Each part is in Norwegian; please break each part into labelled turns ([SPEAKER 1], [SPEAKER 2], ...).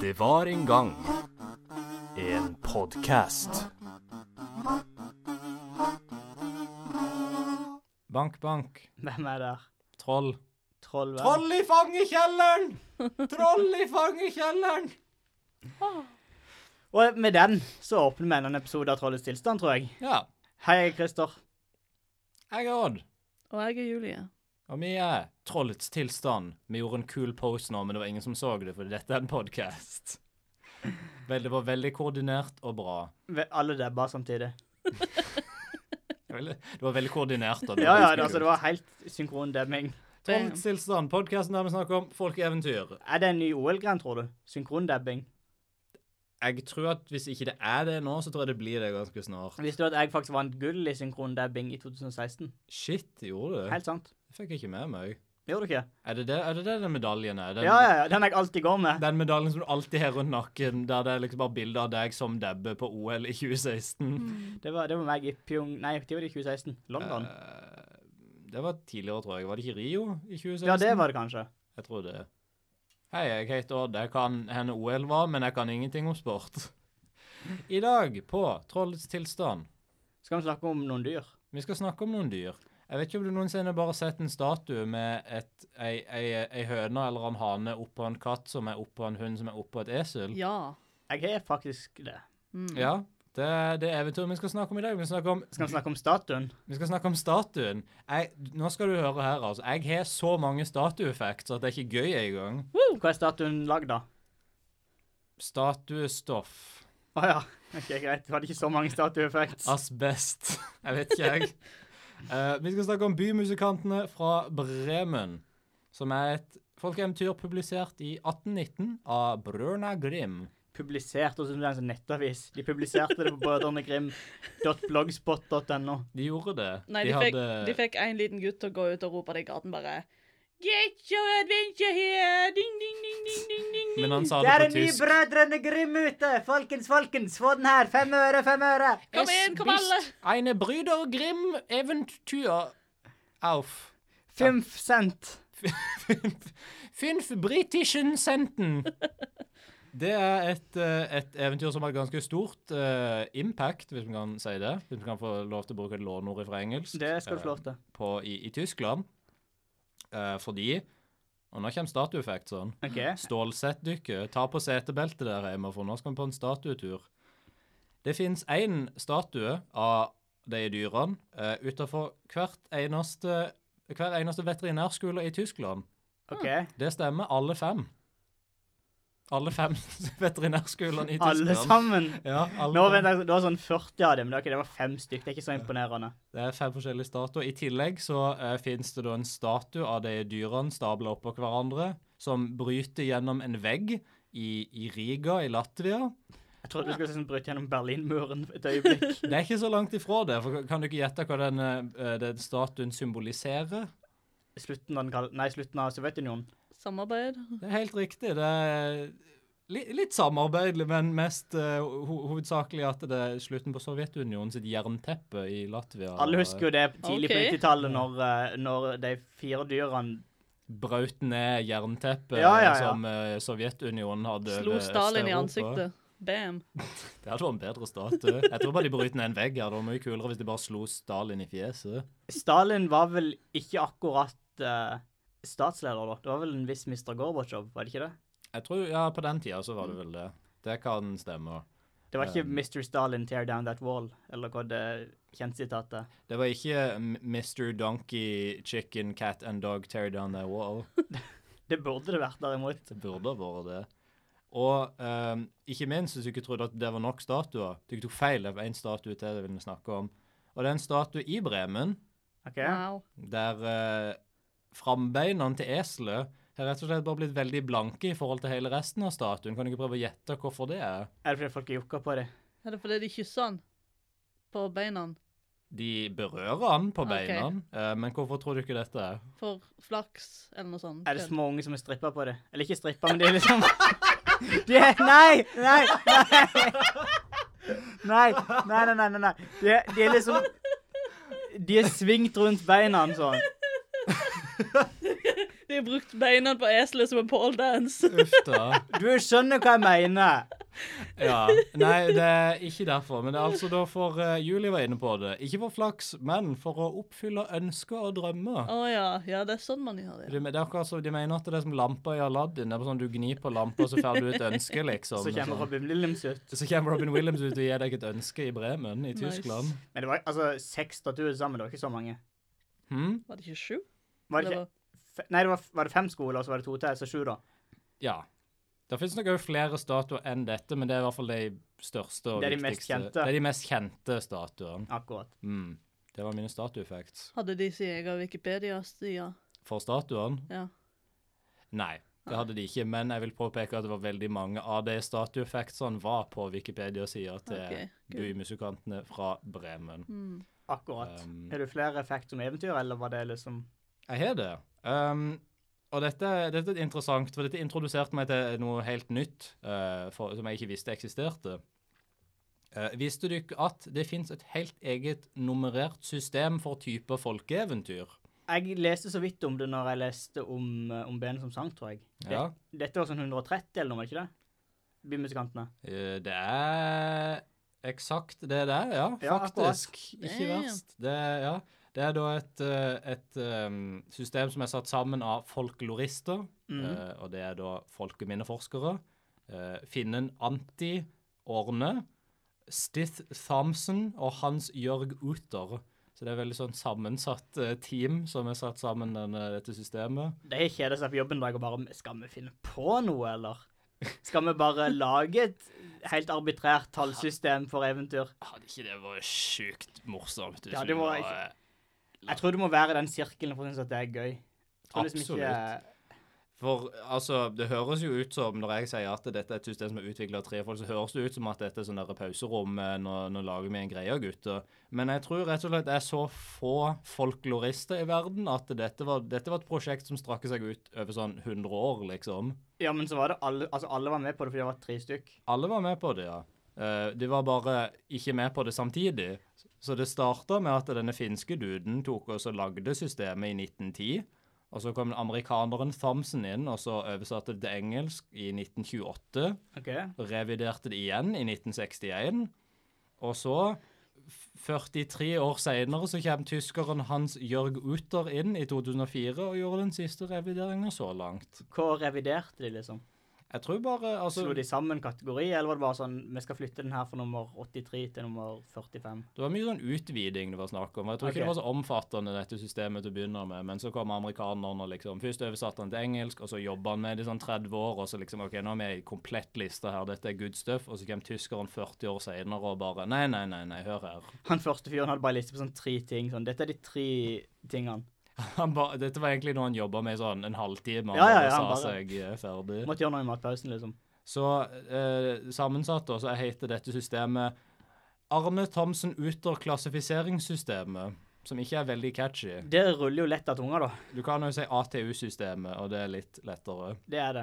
[SPEAKER 1] Det var en gang en podkast.
[SPEAKER 2] Bank, bank.
[SPEAKER 3] Hvem er der?
[SPEAKER 2] Troll.
[SPEAKER 3] Troll? vel?
[SPEAKER 2] Troll i fangekjelleren! Troll i fangekjelleren!
[SPEAKER 3] Og med den så åpner vi enda en episode av Trollets tilstand, tror jeg.
[SPEAKER 2] Ja.
[SPEAKER 3] Hei, jeg er Christer.
[SPEAKER 2] Jeg er Odd,
[SPEAKER 4] Og jeg er Julie.
[SPEAKER 2] og vi er Trollets tilstand. Vi gjorde en kul post nå, men det var ingen som så det, for dette er en podkast. Det var veldig koordinert og bra.
[SPEAKER 3] Ve- Alle debba samtidig.
[SPEAKER 2] Veldig- Det var veldig koordinert. Og
[SPEAKER 3] Ja, ja,
[SPEAKER 2] ganske
[SPEAKER 3] det, altså,
[SPEAKER 2] kult.
[SPEAKER 3] det var helt synkron debbing.
[SPEAKER 2] Trollets tilstand, podkasten der vi snakker om folk i eventyr.
[SPEAKER 3] Er det en ny OL-gren, tror du? Synkron debbing.
[SPEAKER 2] Jeg tror at hvis ikke det er det nå, så tror jeg det blir det ganske snart.
[SPEAKER 3] Visste du at jeg faktisk vant gull i synkron debbing i 2016?
[SPEAKER 2] Shit, gjorde du?
[SPEAKER 3] Helt sant.
[SPEAKER 2] Det fikk jeg ikke med meg.
[SPEAKER 3] Gjorde du ikke?
[SPEAKER 2] Er det det, er det, det den medaljen er? Den,
[SPEAKER 3] Ja, ja, ja. Den jeg alltid går med.
[SPEAKER 2] Den medaljen som du alltid har rundt nakken, der det er liksom bare bilde av deg som dabbe på OL i 2016.
[SPEAKER 3] Det var, det var meg i Pyong... Nei, det var det i 2016. London.
[SPEAKER 2] Eh, det var tidligere, tror jeg. Var det ikke Rio i 2016?
[SPEAKER 3] Ja, det var det kanskje.
[SPEAKER 2] Jeg tror det. Hei, jeg heter Odd. Jeg kan henne OL var, men jeg kan ingenting om sport. I dag på Trollets tilstand,
[SPEAKER 3] Skal vi snakke om noen dyr?
[SPEAKER 2] vi skal snakke om noen dyr. Jeg vet ikke om du noensinne bare har sett en statue med et, ei, ei, ei høne eller en hane oppå en katt som er oppå en hund som er oppå et esel.
[SPEAKER 4] Ja. Mm.
[SPEAKER 3] Jeg har faktisk det.
[SPEAKER 2] Ja, det er det er eventyret vi skal snakke om i dag. Vi snakker om,
[SPEAKER 3] Skal vi snakke om statuen?
[SPEAKER 2] vi skal snakke om statuen. Jeg, nå skal du høre her, altså. Jeg har så mange statueeffekter at det er ikke gøy engang.
[SPEAKER 3] Hva er statuen lagd av?
[SPEAKER 2] Statuestoff.
[SPEAKER 3] Å ja. Ok, greit. Du hadde ikke så mange statue effects.
[SPEAKER 2] Asbest. Jeg vet ikke, jeg. Eh, vi skal snakke om Bymusikantene fra Bremen, som er et folkeeventyr publisert i 1819 av Brøna Grim.
[SPEAKER 3] Publisert hos en sånn nettavis. De publiserte det på brødrenegrim.blogspot.no.
[SPEAKER 2] De gjorde det.
[SPEAKER 4] Nei, de, fikk, de fikk en liten gutt til å gå ut og rope det i gaten bare Get your adventure here! Ding, ding, ding, ding, ding, ding, ding.
[SPEAKER 2] Men han sa
[SPEAKER 3] Det
[SPEAKER 2] det
[SPEAKER 3] er
[SPEAKER 2] på
[SPEAKER 3] en ny
[SPEAKER 2] tysk.
[SPEAKER 3] Brødrene Grim ute! Folkens, folkens, få den her! Fem øre, fem øre!
[SPEAKER 4] Kom igjen, kom alle!
[SPEAKER 2] Eine Brüder Grimm Eventyr auf
[SPEAKER 3] Fymf cent.
[SPEAKER 2] Fünf Britischen Senten. Det er et, eh, et eventyr som har et ganske stort eh, impact, hvis vi kan si det. Hvis vi kan få lov til å bruke et lånord fra engelsk
[SPEAKER 3] Det skal du få lov til.
[SPEAKER 2] eh, på, i, i Tyskland. Eh, fordi Og nå kommer statueeffekt sånn.
[SPEAKER 3] OK.
[SPEAKER 2] Stålsettdykke. Ta på setebeltet der hjemme, for nå skal vi på en statuetur. Det fins én statue av de dyrene uh, utenfor hvert eneste, hver eneste veterinærskole i Tyskland.
[SPEAKER 3] ok.
[SPEAKER 2] Det stemmer, alle fem. Alle fem veterinærskolene i Tyskland.
[SPEAKER 3] Alle sammen.
[SPEAKER 2] Ja, sånn alle
[SPEAKER 3] Nå
[SPEAKER 2] fem.
[SPEAKER 3] vent, jeg- Det var sånn 40 av dem. men ok, Det var fem stykk. Det er ikke så imponerende.
[SPEAKER 2] Det er fem forskjellige statuer. I tillegg så uh, finnes det da en statue av de dyrene stabla oppå hverandre, som bryter gjennom en vegg i, i Riga i Latvia.
[SPEAKER 3] Jeg trodde du skulle liksom bryte gjennom Berlinmuren et øyeblikk.
[SPEAKER 2] Det er ikke så langt ifra det, for kan du ikke gjette hva den, eh, den statuen symboliserer?
[SPEAKER 3] Slutten av, den kal- nei, slutten av Sovjetunionen.
[SPEAKER 4] Samarbeid.
[SPEAKER 2] Det er helt riktig. Det er li litt samarbeid, men mest eh, ho hovedsakelig at det er slutten på Sovjetunionen sitt jernteppe i Latvia.
[SPEAKER 3] Alle husker jo det tidlig på
[SPEAKER 4] Ok.
[SPEAKER 3] 90-tallet, når, eh, når de fire dyrene
[SPEAKER 2] Braut ned jernteppet
[SPEAKER 3] Ja, ja, ja.
[SPEAKER 2] som eh, Sovjetunionen hadde eh,
[SPEAKER 4] Slo
[SPEAKER 2] over
[SPEAKER 4] Stalin i
[SPEAKER 2] Øst-Europa.
[SPEAKER 4] ansiktet. Bam.
[SPEAKER 2] Det hadde vært en bedre statue. Jeg tror bare de brøt ned en vegg her. Det var mye kulere hvis de bare slo Stalin i fjeset.
[SPEAKER 3] Stalin var vel ikke akkurat eh, statsleder, da. Det var vel en viss Mr. Gorbatsjov, var det ikke det?
[SPEAKER 2] Jeg tror, ja, på den tida så var det vel det. Det kan stemme.
[SPEAKER 3] Det var ikke
[SPEAKER 2] Um.
[SPEAKER 3] Mr. Stalin tear down that wall, eller hva det kjentsitatet
[SPEAKER 2] Det var ikke M- Mr. Donkey, Chicken, Cat and Dog Tear Down That Wall.
[SPEAKER 3] Det burde det vært, derimot.
[SPEAKER 2] Det burde ha vært det. Og ehm, ikke minst hvis du ikke trodde at det var nok statuer. Du tok feil av én statue til det vi vil snakke om. Og det er en statue i Bremen
[SPEAKER 3] OK?
[SPEAKER 4] Wow.
[SPEAKER 2] der uh, frambeina til eselet har rett og slett bare blitt veldig blanke i forhold til hele resten av statuen. Kan du ikke prøve å gjette hvorfor det er?
[SPEAKER 3] Er det fordi folk har jokka på det?
[SPEAKER 4] Er det fordi de kysser han? På beina?
[SPEAKER 2] De berører han på
[SPEAKER 4] Ok.
[SPEAKER 2] beina, eh, men hvorfor tror du ikke dette er?
[SPEAKER 4] For flaks, eller noe sånt?
[SPEAKER 3] Er det små unge som er strippa på det? Eller ikke strippa, men de er liksom de er, Nei! Nei! Nei! Nei, nei, nei, nei. nei, nei. De, er, de er liksom altså. De er svingt rundt beina sånn.
[SPEAKER 4] Det er jeg har brukt beina på eselet som en pole dance.
[SPEAKER 2] Uff da.
[SPEAKER 3] Du skjønner hva jeg mener.
[SPEAKER 2] Ja. Nei, det er ikke derfor. Men det er altså da for eh, Julie var inne på det. Ikke for flaks, men for å oppfylle ønsker og drømmer.
[SPEAKER 4] Å ja. Ja, det er sånn man gjør det.
[SPEAKER 2] De, det er akkurat som, de mener at det er som lampa i Aladdin. Det er bare sånn Du gnir på lampa, så får du et ønske, liksom.
[SPEAKER 3] Så kommer Robin Williams ut.
[SPEAKER 2] Så kommer Robin Williams ut og gir deg et ønske i Bremen i
[SPEAKER 4] Nice.
[SPEAKER 2] Tyskland.
[SPEAKER 3] Men det var altså seks statuer sammen, det var ikke så mange.
[SPEAKER 2] Hm?
[SPEAKER 4] Var det ikke sju?
[SPEAKER 3] Var det
[SPEAKER 4] Eller
[SPEAKER 3] ikke? F nei, det var, var det fem skoler, og så var det to til, så sju, da.
[SPEAKER 2] Ja. Det finnes nok også flere statuer enn dette, men det er i hvert fall de største og
[SPEAKER 3] Det er de
[SPEAKER 2] viktigste.
[SPEAKER 3] mest kjente.
[SPEAKER 2] Det er de mest kjente statuene.
[SPEAKER 3] Akkurat.
[SPEAKER 2] Mm. Det var mine statuefacts.
[SPEAKER 4] hadde de sin egen Wikipedia-side?
[SPEAKER 2] For statuene?
[SPEAKER 4] Ja.
[SPEAKER 2] Nei, det hadde de ikke. Men jeg vil påpeke at det var veldig mange av de statuefactsene var på Wikipedia-sida til
[SPEAKER 4] Ok, good.
[SPEAKER 2] Bui-musikantene fra Bremen.
[SPEAKER 4] Mm.
[SPEAKER 3] Akkurat.
[SPEAKER 2] Um,
[SPEAKER 3] Har du flere facts om eventyr, eller var det liksom
[SPEAKER 2] Jeg har det. Um, og dette, dette er interessant, for dette introduserte meg til noe helt nytt eh, for, som jeg ikke visste eksisterte. Eh, visste du ikke at det fins et helt eget nummerert system for typer folkeeventyr?
[SPEAKER 3] Jeg leste så vidt om det når jeg leste om, eh, om Benet som sang, tror jeg. Det,
[SPEAKER 2] Ja.
[SPEAKER 3] Dette var sånn 130 eller noe, var det ikke det? Bymusikantene.
[SPEAKER 2] Eh, det er eksakt det det er, ja.
[SPEAKER 3] Ja,
[SPEAKER 2] Faktisk. Ikke
[SPEAKER 4] Damn.
[SPEAKER 2] verst. Det, er- ja. det er da et, eh, et um, system som er satt sammen av folklorister,
[SPEAKER 3] Mhm.
[SPEAKER 2] eh, og det er da folkeminneforskere. eh, Finnen Anti Orne, Stith Thompson og Hans Jørg Uter. Så det er veldig sånn sammensatt eh, team som er satt sammen denne, dette systemet.
[SPEAKER 3] De kjeder seg på jobben i dag og bare Skal vi finne på noe, eller? Skal vi bare lage et helt arbitrært tallsystem for eventyr?
[SPEAKER 2] Hadde ikke det vært sjukt morsomt? hvis
[SPEAKER 3] Ja,
[SPEAKER 2] vi
[SPEAKER 3] det var ikke- Jeg tror du må være i den sirkelen for å synes at det er gøy. Jeg tror liksom ikke-
[SPEAKER 2] Absolutt. For altså, det høres jo ut som, når jeg sier at dette er et system som er utvikla av tre folk, så høres det ut som at dette er sånn der pauserom, eh, nå, nå lager vi en greie, gutter. Men jeg tror rett og slett det er så få folklorister i verden at dette var, dette var et prosjekt som strakk seg ut over sånn 100 år, liksom.
[SPEAKER 3] Ja, men så var det alle Altså, alle var med på det fordi det var tre stykk.
[SPEAKER 2] Alle var med på det, ja. Eh, de var bare ikke med på det samtidig. Så det starta med at denne finske duden tok og så lagde systemet i 1910. Og så kom amerikaneren Thompson inn og så oversatte det til engelsk i 1928.
[SPEAKER 3] OK?
[SPEAKER 2] Reviderte det igjen i 1961. Og så, f- 43 år seinere, så kom tyskeren Hans Jørg Uter inn i 2004 og gjorde den siste revideringa så langt.
[SPEAKER 3] Hva reviderte de, liksom?
[SPEAKER 2] Jeg tror bare altså,
[SPEAKER 3] Slo de sammen kategori, eller var det bare sånn Vi skal flytte den her fra nummer 83 til nummer 45?
[SPEAKER 2] Det var mye sånn utviding det var snakk om. og Jeg tror ikke
[SPEAKER 3] Ok.
[SPEAKER 2] det var så omfattende, dette systemet til å begynne med. Men så kom amerikanerne og liksom Først oversatte han til engelsk, og så jobba han med det i sånn 30 år, og så liksom OK, nå er vi i komplett liste her, dette er good stuff. Og så kom tyskeren 40 år seinere og bare Nei, nei, nei, nei, hør her.
[SPEAKER 3] Han første fyren hadde bare liste på sånn tre ting. Sånn, dette er de tre tingene.
[SPEAKER 2] Han ba, dette var egentlig noe han jobba med i sånn en halvtime, og
[SPEAKER 3] Ja, ja,
[SPEAKER 2] bare
[SPEAKER 3] ja,
[SPEAKER 2] sa
[SPEAKER 3] han bare-
[SPEAKER 2] seg eh, ferdig.
[SPEAKER 3] Måtte gjøre noe i matpausen, liksom.
[SPEAKER 2] Så eh, sammensatt, da, så heter dette systemet Arne Thomsen Uter klassifiseringssystemet, som ikke er veldig catchy.
[SPEAKER 3] Det ruller jo lett av tunga, da.
[SPEAKER 2] Du kan jo si ATU-systemet, og det er litt lettere.
[SPEAKER 3] Det er det.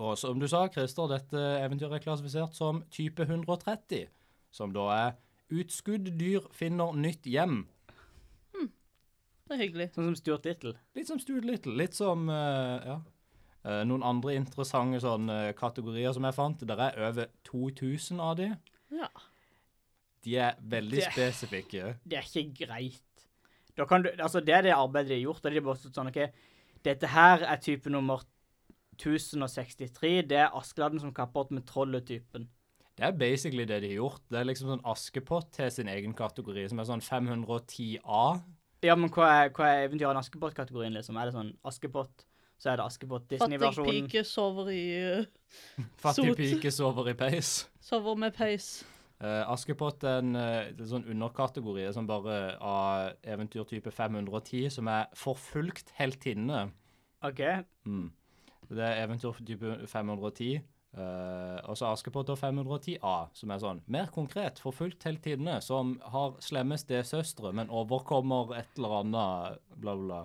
[SPEAKER 2] Og som du sa, Christer, dette eventyret er klassifisert som type 130, som da er utskudd dyr finner nytt hjem.
[SPEAKER 4] Det er hyggelig.
[SPEAKER 3] Sånn som Stuart Little.
[SPEAKER 2] Litt som Stude Little, litt som eh, ja. Eh, noen andre interessante sånne eh, kategorier som jeg fant. Det er over 2000 av de.
[SPEAKER 4] Ja.
[SPEAKER 2] De er veldig
[SPEAKER 3] Det-
[SPEAKER 2] spesifikke.
[SPEAKER 3] Det er ikke greit. Da kan du, altså Det er det arbeidet de har gjort. Da er de bare sånn OK, dette her er type nummer 1063. Det er Askeladden som kapper opp med trollet-typen.
[SPEAKER 2] Det er basically det de har gjort. Det er liksom sånn Askepott til sin egen kategori, som er sånn 510A.
[SPEAKER 3] Ja, men hva er, hva er eventyret i Askepott-kategorien, liksom? Er det sånn Askepott, så er det
[SPEAKER 4] Fattig
[SPEAKER 3] Askepott-Disney-versjonen?
[SPEAKER 4] pike sover i eh,
[SPEAKER 2] Fattig
[SPEAKER 4] Sot.
[SPEAKER 2] pike sover i peis.
[SPEAKER 4] Sover med peis.
[SPEAKER 2] Eh, Askepott er en eh, det er sånn underkategori som bare av eventyrtype 510, som er forfulgt heltinne.
[SPEAKER 3] OK.
[SPEAKER 2] Mm. Det er eventyrtype 510. eh, og så Askepott og 510A, som er sånn mer konkret forfulgt heltinne, som har slemme stesøstre, men overkommer et eller annet, bla, bla, bla.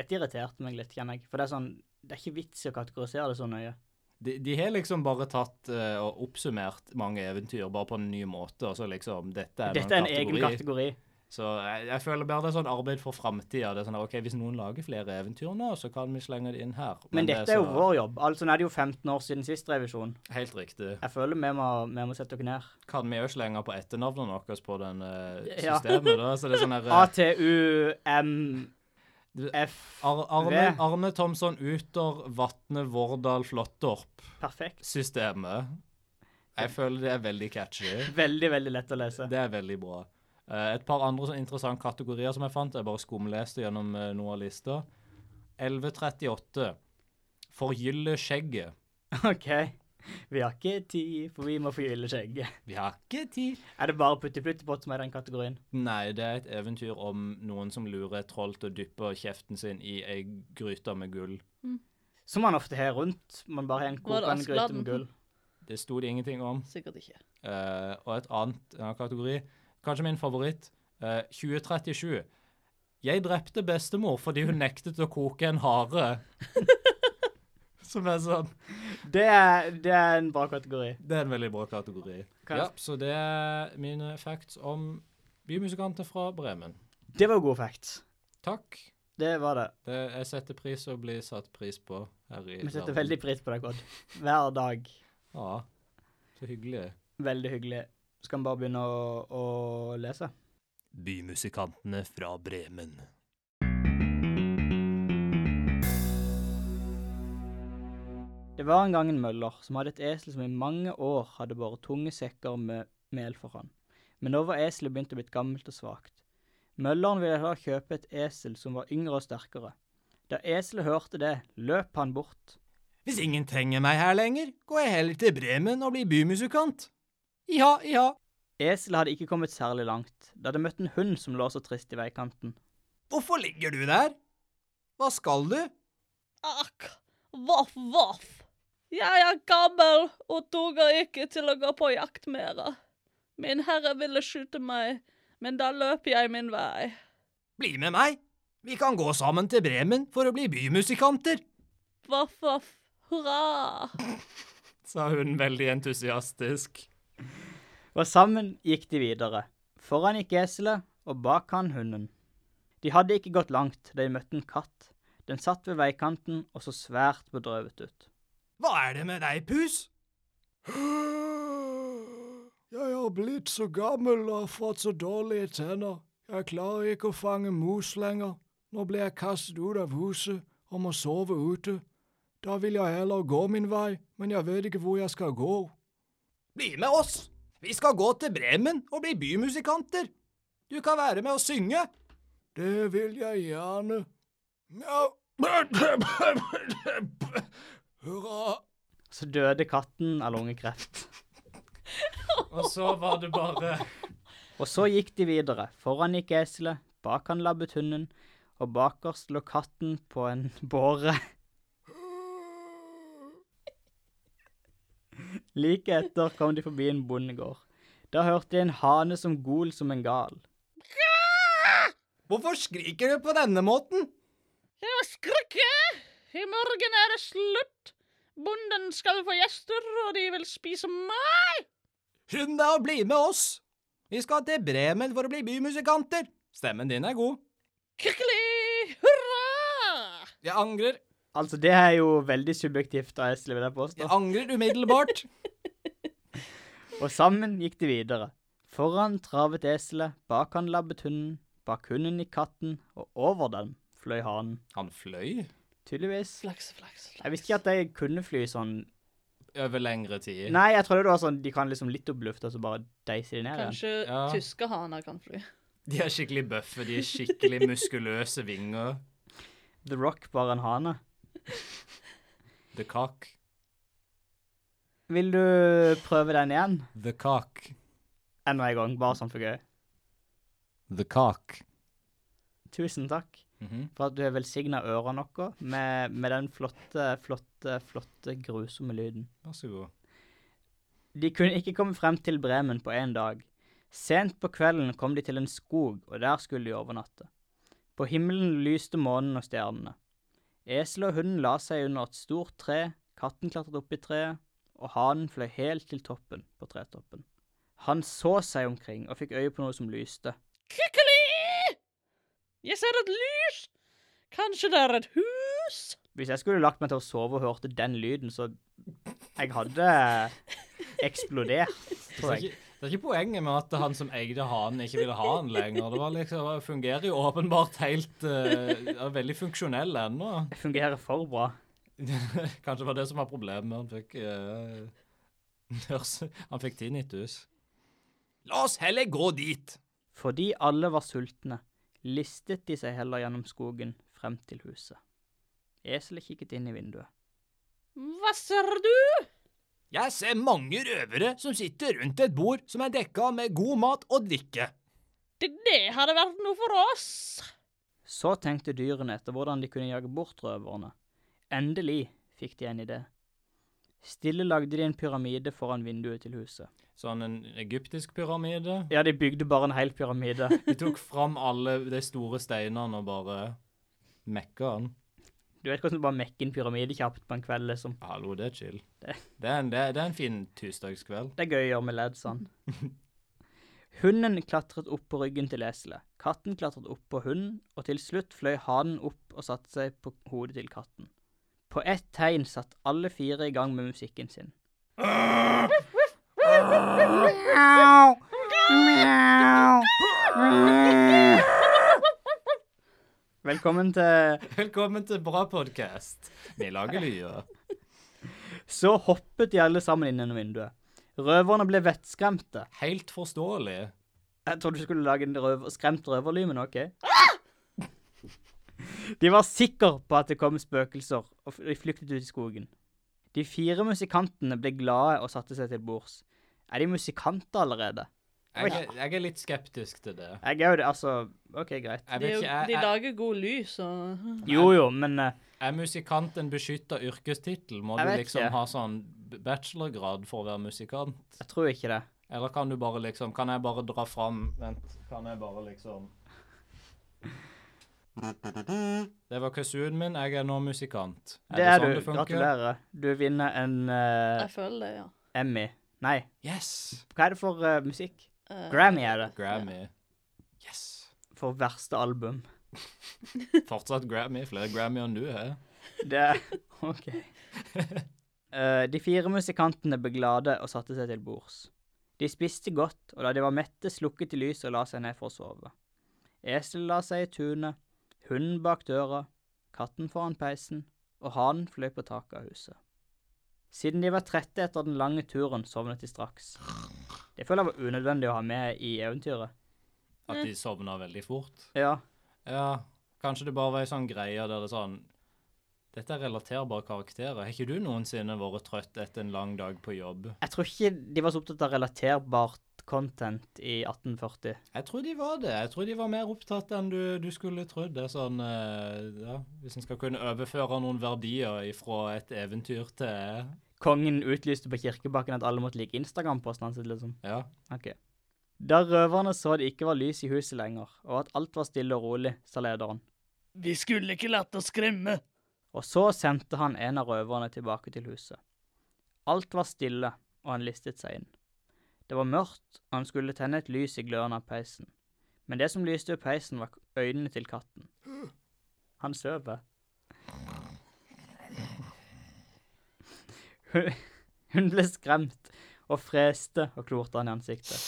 [SPEAKER 3] Dette irriterte meg litt, kjenner jeg. For det er sånn Det er ikke vits i å kategorisere det så nøye.
[SPEAKER 2] De, de har liksom bare tatt eh, og oppsummert mange eventyr bare på en ny måte, og så liksom Dette er, nå
[SPEAKER 3] Dette er en egen kategori.
[SPEAKER 2] Så jeg, jeg føler bare det er sånn arbeid for framtida. Sånn, der, ok, hvis noen lager flere eventyr nå, så kan vi slenge det inn her.
[SPEAKER 3] Men
[SPEAKER 2] det
[SPEAKER 3] dette er jo
[SPEAKER 2] så-
[SPEAKER 3] vår jobb. Altså, nå er det jo 15 år siden sist revisjon.
[SPEAKER 2] Helt riktig.
[SPEAKER 3] Jeg føler vi må, vi må sette dere ned.
[SPEAKER 2] Kan vi òg slenge på etternavnene våre på den eh,
[SPEAKER 3] Ja.
[SPEAKER 2] systemet? da? Så det er sånn der, eh,
[SPEAKER 3] ATUMF.
[SPEAKER 2] Ar Arne,
[SPEAKER 3] V.
[SPEAKER 2] Arne Thomsson Uter Vatne Vårdal Flåttorp-systemet.
[SPEAKER 3] Perfekt.
[SPEAKER 2] Jeg føler det er veldig catchy.
[SPEAKER 3] Veldig, veldig lett å lese.
[SPEAKER 2] Det er veldig bra. Eh, et par andre sånn interessante kategorier som jeg fant. Jeg bare skumleste gjennom eh, noen av lista. 1138. Forgylle skjegget.
[SPEAKER 3] OK. Vi har ikke tid, for vi må forgylle skjegget.
[SPEAKER 2] Vi har ikke tid.
[SPEAKER 3] Er det bare Putti-Plutti-pott som er i den kategorien?
[SPEAKER 2] Nei, det er et eventyr om noen som lurer et troll til å dyppe kjeften sin i ei gryte med gull.
[SPEAKER 3] Som man ofte har rundt. Man bare har en
[SPEAKER 4] Var det
[SPEAKER 3] kokende gryte
[SPEAKER 4] Askeladden?
[SPEAKER 3] med gull.
[SPEAKER 2] Det sto det ingenting om.
[SPEAKER 4] Sikkert ikke.
[SPEAKER 2] Eh, og et annet en annen kategori, kanskje min favoritt, eh, 2037. Jeg drepte bestemor fordi hun nektet å koke en hare. Som er sånn
[SPEAKER 3] Det er, det er en bra kategori.
[SPEAKER 2] Det er en veldig bra kategori.
[SPEAKER 3] Kan-
[SPEAKER 2] Ja, så det er mine facts om bymusikanter fra Bremen.
[SPEAKER 3] Det var god fact.
[SPEAKER 2] Takk.
[SPEAKER 3] Det var det.
[SPEAKER 2] Det, jeg setter pris og blir satt pris på her i
[SPEAKER 3] Vi setter
[SPEAKER 2] verden.
[SPEAKER 3] veldig pris på deg, Odd. Hver dag.
[SPEAKER 2] Ja. Så hyggelig.
[SPEAKER 3] Veldig hyggelig. Skal vi bare begynne å, å lese?
[SPEAKER 1] Bymusikantene fra Bremen.
[SPEAKER 3] Det var en gang en møller som hadde et esel som i mange år hadde båret tunge sekker med mel for han. Men nå var eselet begynt å bli gammelt og svakt. Mølleren ville heller kjøpe et esel som var yngre og sterkere. Da eselet hørte det, løp han bort.
[SPEAKER 1] Hvis ingen trenger meg her lenger, går jeg heller til Bremen og blir bymusikant. Iha, iha.
[SPEAKER 3] Eselet hadde ikke kommet særlig langt, da det møtte en hund som lå så trist i veikanten.
[SPEAKER 1] Hvorfor ligger du der? Hva skal du?
[SPEAKER 4] Akk, voff, voff. Jeg er gammel og duger ikke til å gå på jakt mer. Min herre ville skyte meg, men da løp jeg min vei.
[SPEAKER 1] Bli med meg. Vi kan gå sammen til Bremen for å bli bymusikanter.
[SPEAKER 4] Voff, voff, hurra.
[SPEAKER 2] Sa hun veldig entusiastisk.
[SPEAKER 3] Og sammen gikk de videre. Foran gikk eselet, og bak han hunden. De hadde ikke gått langt da de møtte en katt. Den satt ved veikanten og så svært bedrøvet ut.
[SPEAKER 1] Hva er det med deg, pus?
[SPEAKER 5] Jeg har blitt så gammel og har fått så dårlige tenner. Jeg klarer ikke å fange mus lenger. Nå ble jeg kastet ut av huset og må sove ute. Da vil jeg heller gå min vei, men jeg vet ikke hvor jeg skal gå.
[SPEAKER 1] Bli med oss. Vi skal gå til Bremen og bli bymusikanter. Du kan være med og synge.
[SPEAKER 5] Det vil jeg gjerne. Mjau. Hurra.
[SPEAKER 3] Så døde katten av lungekreft.
[SPEAKER 2] Og så var det bare
[SPEAKER 3] Og så gikk de videre. Foran gikk eselet, bak han labbet hunden, og bakerst lå katten på en båre. Like etter kom de forbi en bondegård. Da hørte de en hane som gol som en gal.
[SPEAKER 1] Hvorfor skriker du på denne måten?
[SPEAKER 4] Jeg må skrikke! I morgen er det slutt. Bonden skal få gjester, og de vil spise meg.
[SPEAKER 1] Skynd deg å bli med oss. Vi skal til Bremen for å bli bymusikanter. Stemmen din er god.
[SPEAKER 4] Kirkelig hurra!
[SPEAKER 1] Jeg angrer.
[SPEAKER 3] Altså, det er jo veldig subjektivt av eselet, vil jeg påstå.
[SPEAKER 1] Jeg angrer umiddelbart.
[SPEAKER 3] Og sammen gikk de videre. Foran travet eselet, bak han labbet hunden, bak hunden gikk katten, og over dem fløy hanen.
[SPEAKER 2] Han fløy
[SPEAKER 3] Tydeligvis.
[SPEAKER 4] Flaks, flaks, flaks.
[SPEAKER 3] Jeg visste ikke at de kunne fly sånn
[SPEAKER 2] over lengre tid.
[SPEAKER 3] Nei, jeg trodde det var sånn de kan liksom litt opp i lufta, og så bare deiser de ned igjen.
[SPEAKER 4] Kanskje
[SPEAKER 2] Ja.
[SPEAKER 4] tyske haner kan fly.
[SPEAKER 2] De er skikkelig bøffe. De er skikkelig muskuløse vinger.
[SPEAKER 3] The Rock bare en hane.
[SPEAKER 2] The cock.
[SPEAKER 3] Vil du prøve den igjen?
[SPEAKER 2] The cock.
[SPEAKER 3] Enda en gang, bare sånn for gøy.
[SPEAKER 2] The cock.
[SPEAKER 3] Tusen takk
[SPEAKER 2] Mhm.
[SPEAKER 3] for at du har velsigna ørene våre med, med den flotte, flotte, flotte, grusomme lyden.
[SPEAKER 2] Vær så god.
[SPEAKER 3] De kunne ikke komme frem til Bremen på én dag. Sent på kvelden kom de til en skog, og der skulle de overnatte. På himmelen lyste månen og stjernene. Eselet og hunden la seg under et stort tre, katten klatret opp i treet, og hanen fløy helt til toppen på tretoppen. Han så seg omkring og fikk øye på noe som lyste.
[SPEAKER 4] Kirkelig Jeg ser et lys! Kanskje det er et hus?
[SPEAKER 3] Hvis jeg skulle lagt meg til å sove og hørte den lyden, så Jeg hadde eksplodert,
[SPEAKER 2] Det
[SPEAKER 3] tror
[SPEAKER 2] er,
[SPEAKER 3] jeg.
[SPEAKER 2] ikke, det er ikke poenget med at han som eide hanen, ikke ville ha den lenger. Det var liksom, det fungerer jo åpenbart helt eh, er Veldig funksjonell ennå.
[SPEAKER 3] Det fungerer for bra.
[SPEAKER 2] Kanskje det var det som var problemet. Han fikk
[SPEAKER 1] eh,
[SPEAKER 2] uh, Han fikk tinnitus.
[SPEAKER 1] La oss heller gå dit.
[SPEAKER 3] Fordi alle var sultne, listet de seg heller gjennom skogen frem til huset. Eselet kikket inn i vinduet.
[SPEAKER 4] Hva ser du?
[SPEAKER 1] Jeg ser mange røvere som sitter rundt et bord som er dekka med god mat og drikke.
[SPEAKER 4] Det, det hadde vært noe for oss.
[SPEAKER 3] Så tenkte dyrene etter hvordan de kunne jage bort røverne. Endelig fikk de en idé. Stille lagde de en pyramide foran vinduet til huset.
[SPEAKER 2] Sånn en egyptisk pyramide.
[SPEAKER 3] Ja, de bygde bare en hel pyramide.
[SPEAKER 2] De tok fram alle de store steinene og bare mekka den.
[SPEAKER 3] Du vet hvordan du bare mekker en pyramide kjapt på en kveld, liksom.
[SPEAKER 2] Hallo, det er chill.
[SPEAKER 3] Det-
[SPEAKER 2] Det er en, det er, det er en fin tirsdagskveld.
[SPEAKER 3] Det er gøy å gjøre med ledd sånn. Hunden klatret opp på ryggen til eselet. Katten klatret opp på hunden, og til slutt fløy hanen opp og satte seg på hodet til katten. På ett tegn satt alle fire i gang med musikken sin. Velkommen til
[SPEAKER 2] Velkommen til Bra podkast. Vi lager lyder.
[SPEAKER 3] Så hoppet de alle sammen inn gjennom vinduet. Røverne ble vettskremte.
[SPEAKER 2] Helt forståelig.
[SPEAKER 3] Jeg trodde du skulle lage en røver, skremt røverlyd, men OK. De var sikre på at det kom spøkelser, og f- de flyktet ut i skogen. De fire musikantene ble glade og satte seg til bords. Er de musikanter allerede?
[SPEAKER 2] Jeg, er- jeg er litt skeptisk til det.
[SPEAKER 3] Jeg er jo det, altså OK, greit.
[SPEAKER 2] Jeg
[SPEAKER 4] De,
[SPEAKER 2] vet ikke,
[SPEAKER 4] de
[SPEAKER 2] jeg, jeg,
[SPEAKER 4] lager god lys og
[SPEAKER 3] Jo jo, men eh,
[SPEAKER 2] er musikant en beskytta yrkestittel? Må
[SPEAKER 3] Jeg
[SPEAKER 2] du
[SPEAKER 3] vet
[SPEAKER 2] liksom
[SPEAKER 3] ikke.
[SPEAKER 2] ha sånn bachelorgrad for å være musikant?
[SPEAKER 3] jeg tror ikke det.
[SPEAKER 2] Eller kan du bare liksom Kan jeg bare dra fram Vent, kan jeg bare liksom Det var kazoon min. Jeg er sånn nå musikant.
[SPEAKER 3] Det er du. Gratulerer. Du vinner en eh,
[SPEAKER 4] Jeg føler det, ja.
[SPEAKER 3] Emmy. Nei,
[SPEAKER 2] Yes!
[SPEAKER 3] hva er det for eh, musikk?
[SPEAKER 4] Eh,
[SPEAKER 3] Grammy er det.
[SPEAKER 2] Grammy. Yes.
[SPEAKER 3] For verste album.
[SPEAKER 2] Fortsatt Grammy. Flere Grammy enn du har.
[SPEAKER 3] Det OK. Eh, de fire musikantene ble glade og satte seg til bords. De spiste godt, og da de var mette, slukket de lyset og la seg ned for å sove. Eselet la seg i tunet, hunden bak døra, katten foran peisen, og hanen fløy på taket av huset. Siden de var trette etter den lange turen, sovnet de straks. Det føler jeg var unødvendig å ha med i eventyret.
[SPEAKER 2] At de sovna veldig fort.
[SPEAKER 3] Ja,
[SPEAKER 2] Ja, kanskje det bare var en sånn greie der det er sånn Dette er relaterbare karakterer. Har ikke du noensinne vært trøtt etter en lang dag på jobb?
[SPEAKER 3] jeg tror ikke de var så opptatt av relaterbart content i 1840.
[SPEAKER 2] Jeg tror de var det. Jeg tror de var mer opptatt enn du, du skulle trodd. Det er sånn eh, Ja, hvis en skal kunne overføre noen verdier ifra et eventyr til
[SPEAKER 3] kongen utlyste på kirkebakken at alle måtte like Instagram-posten hans, liksom.
[SPEAKER 2] Ja.
[SPEAKER 3] Ok. Da røverne så det ikke var lys i huset lenger, og at alt var stille og rolig, sa lederen.
[SPEAKER 6] Vi skulle ikke latt oss skremme.
[SPEAKER 3] Og så sendte han en av røverne tilbake til huset. Alt var stille, og han listet seg inn. Det var mørkt, og han skulle tenne et lys i gløren av peisen. Men det som lyste ved peisen, var øynene til katten. Han sover. Hun- Hun ble skremt og freste og klorte han i ansiktet.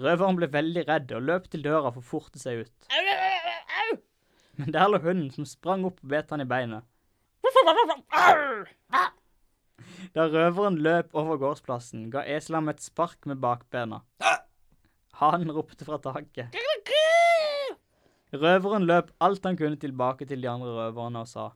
[SPEAKER 3] Røveren ble veldig redd og løp til døra for å forte seg ut.
[SPEAKER 4] Au, au, au, au, au!
[SPEAKER 3] Men der lå hunden, som sprang opp og bet han i beinet. Da røveren løp over gårdsplassen, ga eselet ham et spark med bakbena. Hanen ropte fra taket. Røveren løp alt han kunne tilbake til de andre røverne og sa.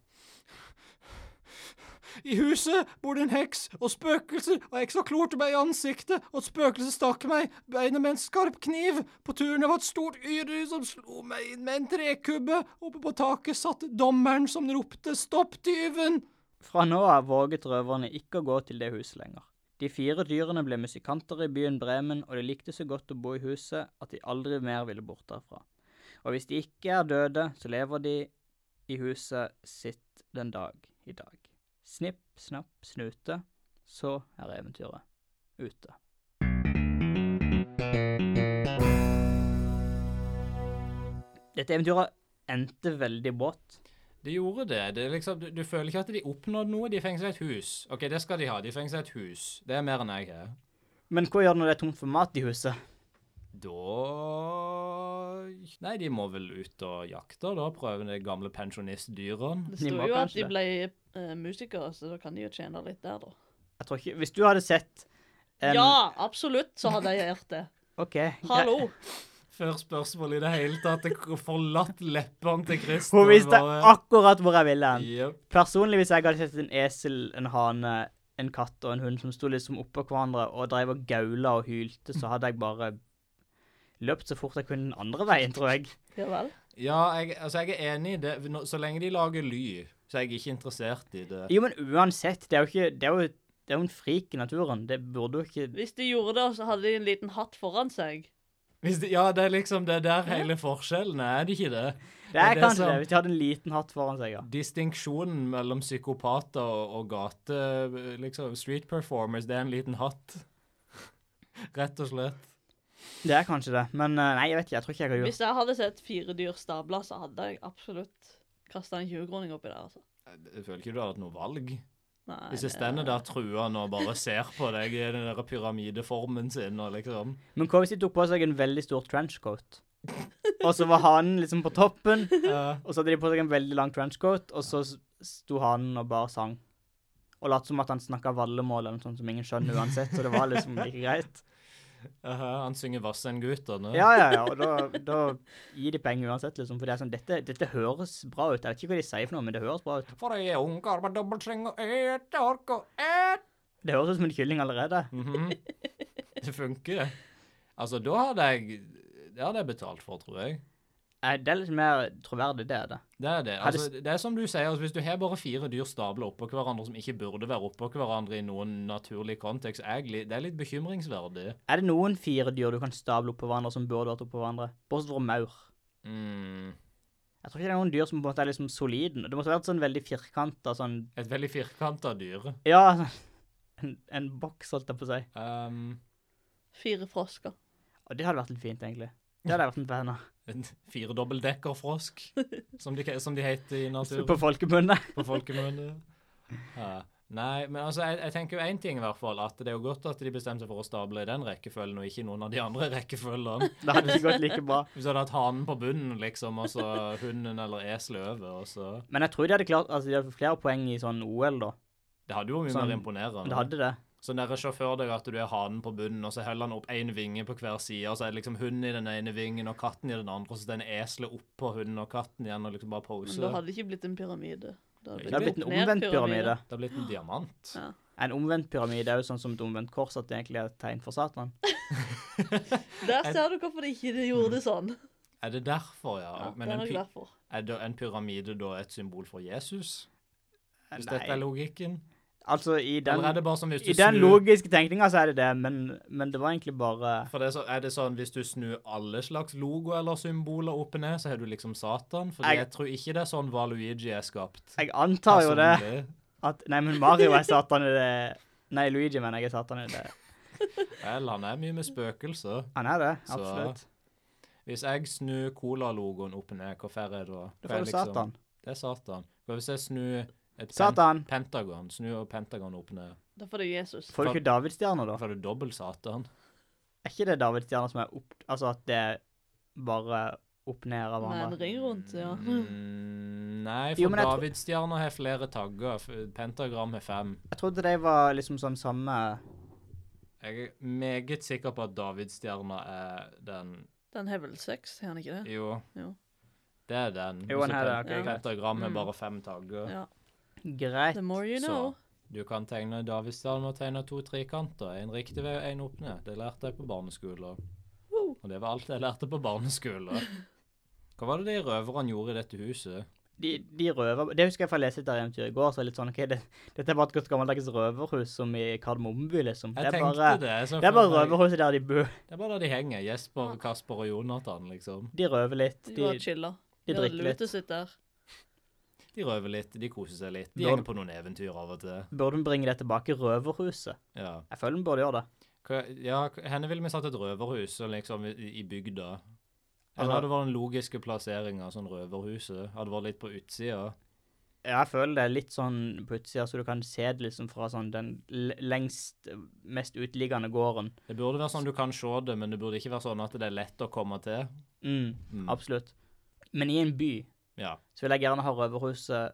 [SPEAKER 1] I huset bor det en heks og spøkelser, og heksa klorte meg i ansiktet, og et spøkelse stakk meg i beinet med en skarp kniv. På tunet var et stort yr som slo meg inn med en trekubbe. Oppe på taket satt dommeren som ropte 'stopp tyven'.
[SPEAKER 3] Fra nå av våget røverne ikke å gå til det huset lenger. De fire dyrene ble musikanter i byen Bremen, og de likte så godt å bo i huset at de aldri mer ville bort derfra. Og hvis de ikke er døde, så lever de i huset sitt den dag i dag. Snipp, snapp, snute, så er eventyret ute. Dette eventyret endte veldig brått.
[SPEAKER 2] De gjorde det. det er liksom, du, du føler ikke at de oppnådde noe. De fengsla et hus. OK, det skal de ha. De fengsla et hus. Det er mer enn jeg har.
[SPEAKER 3] Men hva gjør det når det er tomt for mat i huset?
[SPEAKER 2] Da Nei, de må vel ut og jakte, da. Prøve de gamle pensjonistdyrene.
[SPEAKER 4] Det
[SPEAKER 3] De
[SPEAKER 4] sto
[SPEAKER 3] må
[SPEAKER 4] jo at
[SPEAKER 3] kanskje
[SPEAKER 4] de
[SPEAKER 3] det.
[SPEAKER 4] ble eh, musikere, så da kan de jo tjene litt der, da.
[SPEAKER 3] Jeg tror ikke Hvis du hadde sett en-
[SPEAKER 4] Ja, absolutt, så hadde jeg gjort det.
[SPEAKER 3] OK. grei-
[SPEAKER 4] Hallo.
[SPEAKER 2] Før spørsmålet i det hele tatt det forlatt leppene til Christer.
[SPEAKER 3] Hun visste akkurat hvor jeg ville hen.
[SPEAKER 2] Jep.
[SPEAKER 3] Personlig, hvis jeg hadde sett en esel, en hane, en katt og en hund som sto liksom oppå hverandre og drev og gaula og hylte, så hadde jeg bare løpt så fort jeg kunne den andre veien, tror jeg.
[SPEAKER 4] Ja vel.
[SPEAKER 2] Ja, jeg, altså, jeg er enig i det. Nå- Så lenge de lager ly, så er jeg ikke interessert i det.
[SPEAKER 3] Jo, men uansett, det er jo ikke Det er jo, det er jo en frik i naturen. Det burde jo ikke
[SPEAKER 4] Hvis de gjorde det, så hadde de en liten hatt foran seg.
[SPEAKER 2] Hvis de, ja, det er liksom det er der hele forskjellen er, er det ikke det?
[SPEAKER 3] Det er
[SPEAKER 2] det
[SPEAKER 3] kanskje
[SPEAKER 2] som-
[SPEAKER 3] det, hvis de hadde en liten hatt foran seg, ja.
[SPEAKER 2] Distinksjonen mellom psykopater og, og gate, liksom street performers, det er en liten hatt. Rett og slett.
[SPEAKER 3] Det er kanskje det, men eh, nei, jeg vet ikke. Jeg tror ikke jeg hadde gjort
[SPEAKER 4] Hvis jeg hadde sett fire dyr stabla, så hadde jeg absolutt kasta en 20-kroning oppi der, altså.
[SPEAKER 2] Jeg føler ikke du har hatt noe valg.
[SPEAKER 4] Nei,
[SPEAKER 2] Hvis jeg
[SPEAKER 4] det-
[SPEAKER 2] stender der truende og bare ser på deg i den der pyramideformen sin og liksom
[SPEAKER 3] Men hva hvis de tok på seg en veldig stor trenchcoat? Og så var hanen liksom på toppen,
[SPEAKER 2] eh,
[SPEAKER 3] og så hadde de på seg en veldig lang trenchcoat, og så s- sto hanen og bare sang. Og lot som at han snakka vallemål eller noe sånt som ingen skjønner uansett, så det var liksom like greit.
[SPEAKER 2] eh, Han synger Vassendgutane.
[SPEAKER 3] Ja, ja, ja, og da, da gir de penger uansett, liksom. For det er sånn, dette, dette høres bra ut. Jeg vet ikke hva de sier for noe, men det høres bra ut.
[SPEAKER 2] For jeg er ungkar med dobbeltseng og et ork og et
[SPEAKER 3] Det høres ut som en kylling allerede.
[SPEAKER 2] Mhm. Det funker. Altså, da hadde jeg Det hadde jeg betalt for, tror jeg.
[SPEAKER 3] Eh, Det er litt mer troverdig, det er det.
[SPEAKER 2] Det er det.
[SPEAKER 3] Hadde
[SPEAKER 2] Altså, det er som du sier, altså, hvis du har bare fire dyr stabla oppå hverandre som ikke burde være oppå hverandre i noen naturlig kontekst, er jeg li- det er litt bekymringsverdig.
[SPEAKER 3] Er det noen fire dyr du kan stable opp på hverandre som burde vært opp på hverandre? Bortsett fra maur.
[SPEAKER 2] Mm.
[SPEAKER 3] Jeg tror ikke det er noen dyr som på en måte er liksom soliden. Det måtte vært sånn veldig firkanta, sånn
[SPEAKER 2] Et veldig firkanta dyr.
[SPEAKER 3] Ja, en, en boks, holdt jeg på å si.
[SPEAKER 2] Um,
[SPEAKER 4] Fire frosker.
[SPEAKER 3] Og det hadde vært litt fint, egentlig. Det hadde jeg vært en fan av.
[SPEAKER 2] en firedobbeldekkerfrosk, som, de ke- som de heter i naturen.
[SPEAKER 3] På folkemunne.
[SPEAKER 2] på folkemunne. Ja. Nei, men altså, jeg, jeg tenker jo én ting, i hvert fall. At det er jo godt at de bestemte seg for å stable i den rekkefølgen, og ikke i noen av de andre rekkefølgene.
[SPEAKER 3] Det hadde ikke gått like bra.
[SPEAKER 2] Hvis du hadde hatt hanen på bunnen, liksom, og så hunden eller eselet over, og så
[SPEAKER 3] Men jeg tror de hadde klart altså de hadde fått flere poeng i sånn OL, da.
[SPEAKER 2] Det hadde jo vært mye
[SPEAKER 3] Sånn,
[SPEAKER 2] mer imponerende.
[SPEAKER 3] Men det hadde det.
[SPEAKER 2] Sånn der sjåfør deg at du er hanen på bunnen, og så heller han opp én vinge på hver side, og så er det liksom hunden i den ene vingen og katten i den andre, og så den eselet oppå hunden og katten igjen, og liksom bare
[SPEAKER 4] Men
[SPEAKER 2] pose.
[SPEAKER 4] det
[SPEAKER 2] Det
[SPEAKER 4] hadde det ikke blitt en pyramide.
[SPEAKER 2] Det
[SPEAKER 3] Det hadde blitt en omvendt pyramide.
[SPEAKER 2] har blitt en diamant.
[SPEAKER 4] Ja.
[SPEAKER 3] En omvendt pyramide er jo sånn som et omvendt kors, at det egentlig er et tegn for Satan.
[SPEAKER 4] Der ser du hvorfor de ikke gjorde det sånn.
[SPEAKER 2] Er det derfor, ja?
[SPEAKER 4] Ja,
[SPEAKER 2] Men
[SPEAKER 4] det er
[SPEAKER 2] en,
[SPEAKER 4] nok
[SPEAKER 2] py
[SPEAKER 4] derfor.
[SPEAKER 2] er da en pyramide da et symbol for Jesus? Hvis dette er
[SPEAKER 3] Nei.
[SPEAKER 2] logikken?
[SPEAKER 3] Altså, i
[SPEAKER 2] Eller er
[SPEAKER 3] den,
[SPEAKER 2] det bare som hvis du
[SPEAKER 3] i den
[SPEAKER 2] snur
[SPEAKER 3] logiske tenkninga så er det det, men, men det var egentlig bare
[SPEAKER 2] For det er, så, er det sånn hvis du snur alle slags logoer eller symboler opp og ned, så har du liksom Satan? Fordi jeg,
[SPEAKER 3] Jeg-
[SPEAKER 2] tror ikke det er sånn Valuigi er skapt.
[SPEAKER 3] Jeg antar jo det.
[SPEAKER 2] Personlig.
[SPEAKER 3] At, nei, men Mario er satan i det Nei, Luigi mener jeg er satan i det.
[SPEAKER 2] Vel, han er mye med spøkelser.
[SPEAKER 3] Han er det,
[SPEAKER 2] Så-
[SPEAKER 3] absolutt.
[SPEAKER 2] Hvis jeg snur Cola-logoen opp og ned, hva får jeg da? er
[SPEAKER 3] Da får du
[SPEAKER 2] liksom-
[SPEAKER 3] satan.
[SPEAKER 2] Det er Satan. Hva hvis jeg snur et pen
[SPEAKER 3] Satan!
[SPEAKER 2] pentagon? Snur Pentagon opp og ned.
[SPEAKER 4] Da får du Jesus.
[SPEAKER 3] Får du ikke davidsstjerner,
[SPEAKER 2] Da
[SPEAKER 3] da?
[SPEAKER 2] får du dobbel Satan.
[SPEAKER 3] Er ikke det davidsstjerner som er opp... Altså at det er bare opp ned av
[SPEAKER 4] Med en
[SPEAKER 3] hverandre?
[SPEAKER 4] ring rundt, ja.
[SPEAKER 2] Mm, nei,
[SPEAKER 3] Jo,
[SPEAKER 2] for
[SPEAKER 3] men jeg tror-
[SPEAKER 2] davidsstjerna har flere tagger. f- Pentagram har fem.
[SPEAKER 3] Jeg trodde de var liksom sånn samme
[SPEAKER 2] Jeg er meget sikker på at davidsstjerna er den
[SPEAKER 4] Den har vel seks, har den ikke det?
[SPEAKER 2] Jo.
[SPEAKER 4] Jo.
[SPEAKER 2] Det er den.
[SPEAKER 3] Jo, den her er
[SPEAKER 2] Pen-
[SPEAKER 4] ok, greit.
[SPEAKER 2] Pentagram har
[SPEAKER 4] Mm.
[SPEAKER 2] bare fem tagger.
[SPEAKER 4] Ja.
[SPEAKER 3] Greit.
[SPEAKER 4] The more you
[SPEAKER 2] Så.
[SPEAKER 4] know.
[SPEAKER 2] Du kan tegne Davidstjerne og tegne to trekanter. En riktig vei og en opp ned. Det lærte jeg på barneskolen.
[SPEAKER 4] Wow.
[SPEAKER 2] Og det var alt jeg lærte på barneskolen. Hva var det de røverne gjorde i dette huset?
[SPEAKER 3] De, de røver... Det husker jeg fra lese etter eventyret i går, så er det litt sånn OK, det, dette er bare et godt gammeldags røverhus som i Kardemommeby, liksom.
[SPEAKER 2] Jeg
[SPEAKER 3] Det er
[SPEAKER 2] tenkte
[SPEAKER 3] bare,
[SPEAKER 2] det. så
[SPEAKER 3] det er bare
[SPEAKER 2] føler jeg-
[SPEAKER 3] røverhuset der de bor.
[SPEAKER 2] Det er bare der de henger. Jesper, Kasper og Jonathan, liksom.
[SPEAKER 3] De røver litt.
[SPEAKER 4] De
[SPEAKER 3] De,
[SPEAKER 4] var chilla.
[SPEAKER 3] de
[SPEAKER 4] De hadde
[SPEAKER 3] drikker litt.
[SPEAKER 4] lutet sitt der.
[SPEAKER 2] De røver litt, de koser seg litt. De
[SPEAKER 3] Når-
[SPEAKER 2] henger på noen eventyr av og til.
[SPEAKER 3] Burde vi bringe det tilbake, røverhuset?
[SPEAKER 2] Ja.
[SPEAKER 3] Jeg føler vi burde gjøre det.
[SPEAKER 2] Hva, ja, henne ville vi satt et røverhus og liksom i i bygda. Eller
[SPEAKER 3] Altså-
[SPEAKER 2] hadde det vært den logiske plasseringa, sånn røverhuset? Hadde vært litt på utsida?
[SPEAKER 3] Jeg føler det er litt sånn på utsida, så du kan se det liksom fra sånn den l- lengst, mest uteliggende gården.
[SPEAKER 2] Det burde være sånn du kan se det, men det burde ikke være sånn at det er lett å komme til.
[SPEAKER 3] Mm,
[SPEAKER 2] Mm.
[SPEAKER 3] Absolutt. Men i en by
[SPEAKER 2] Ja.
[SPEAKER 3] så vil jeg gjerne ha røverhuset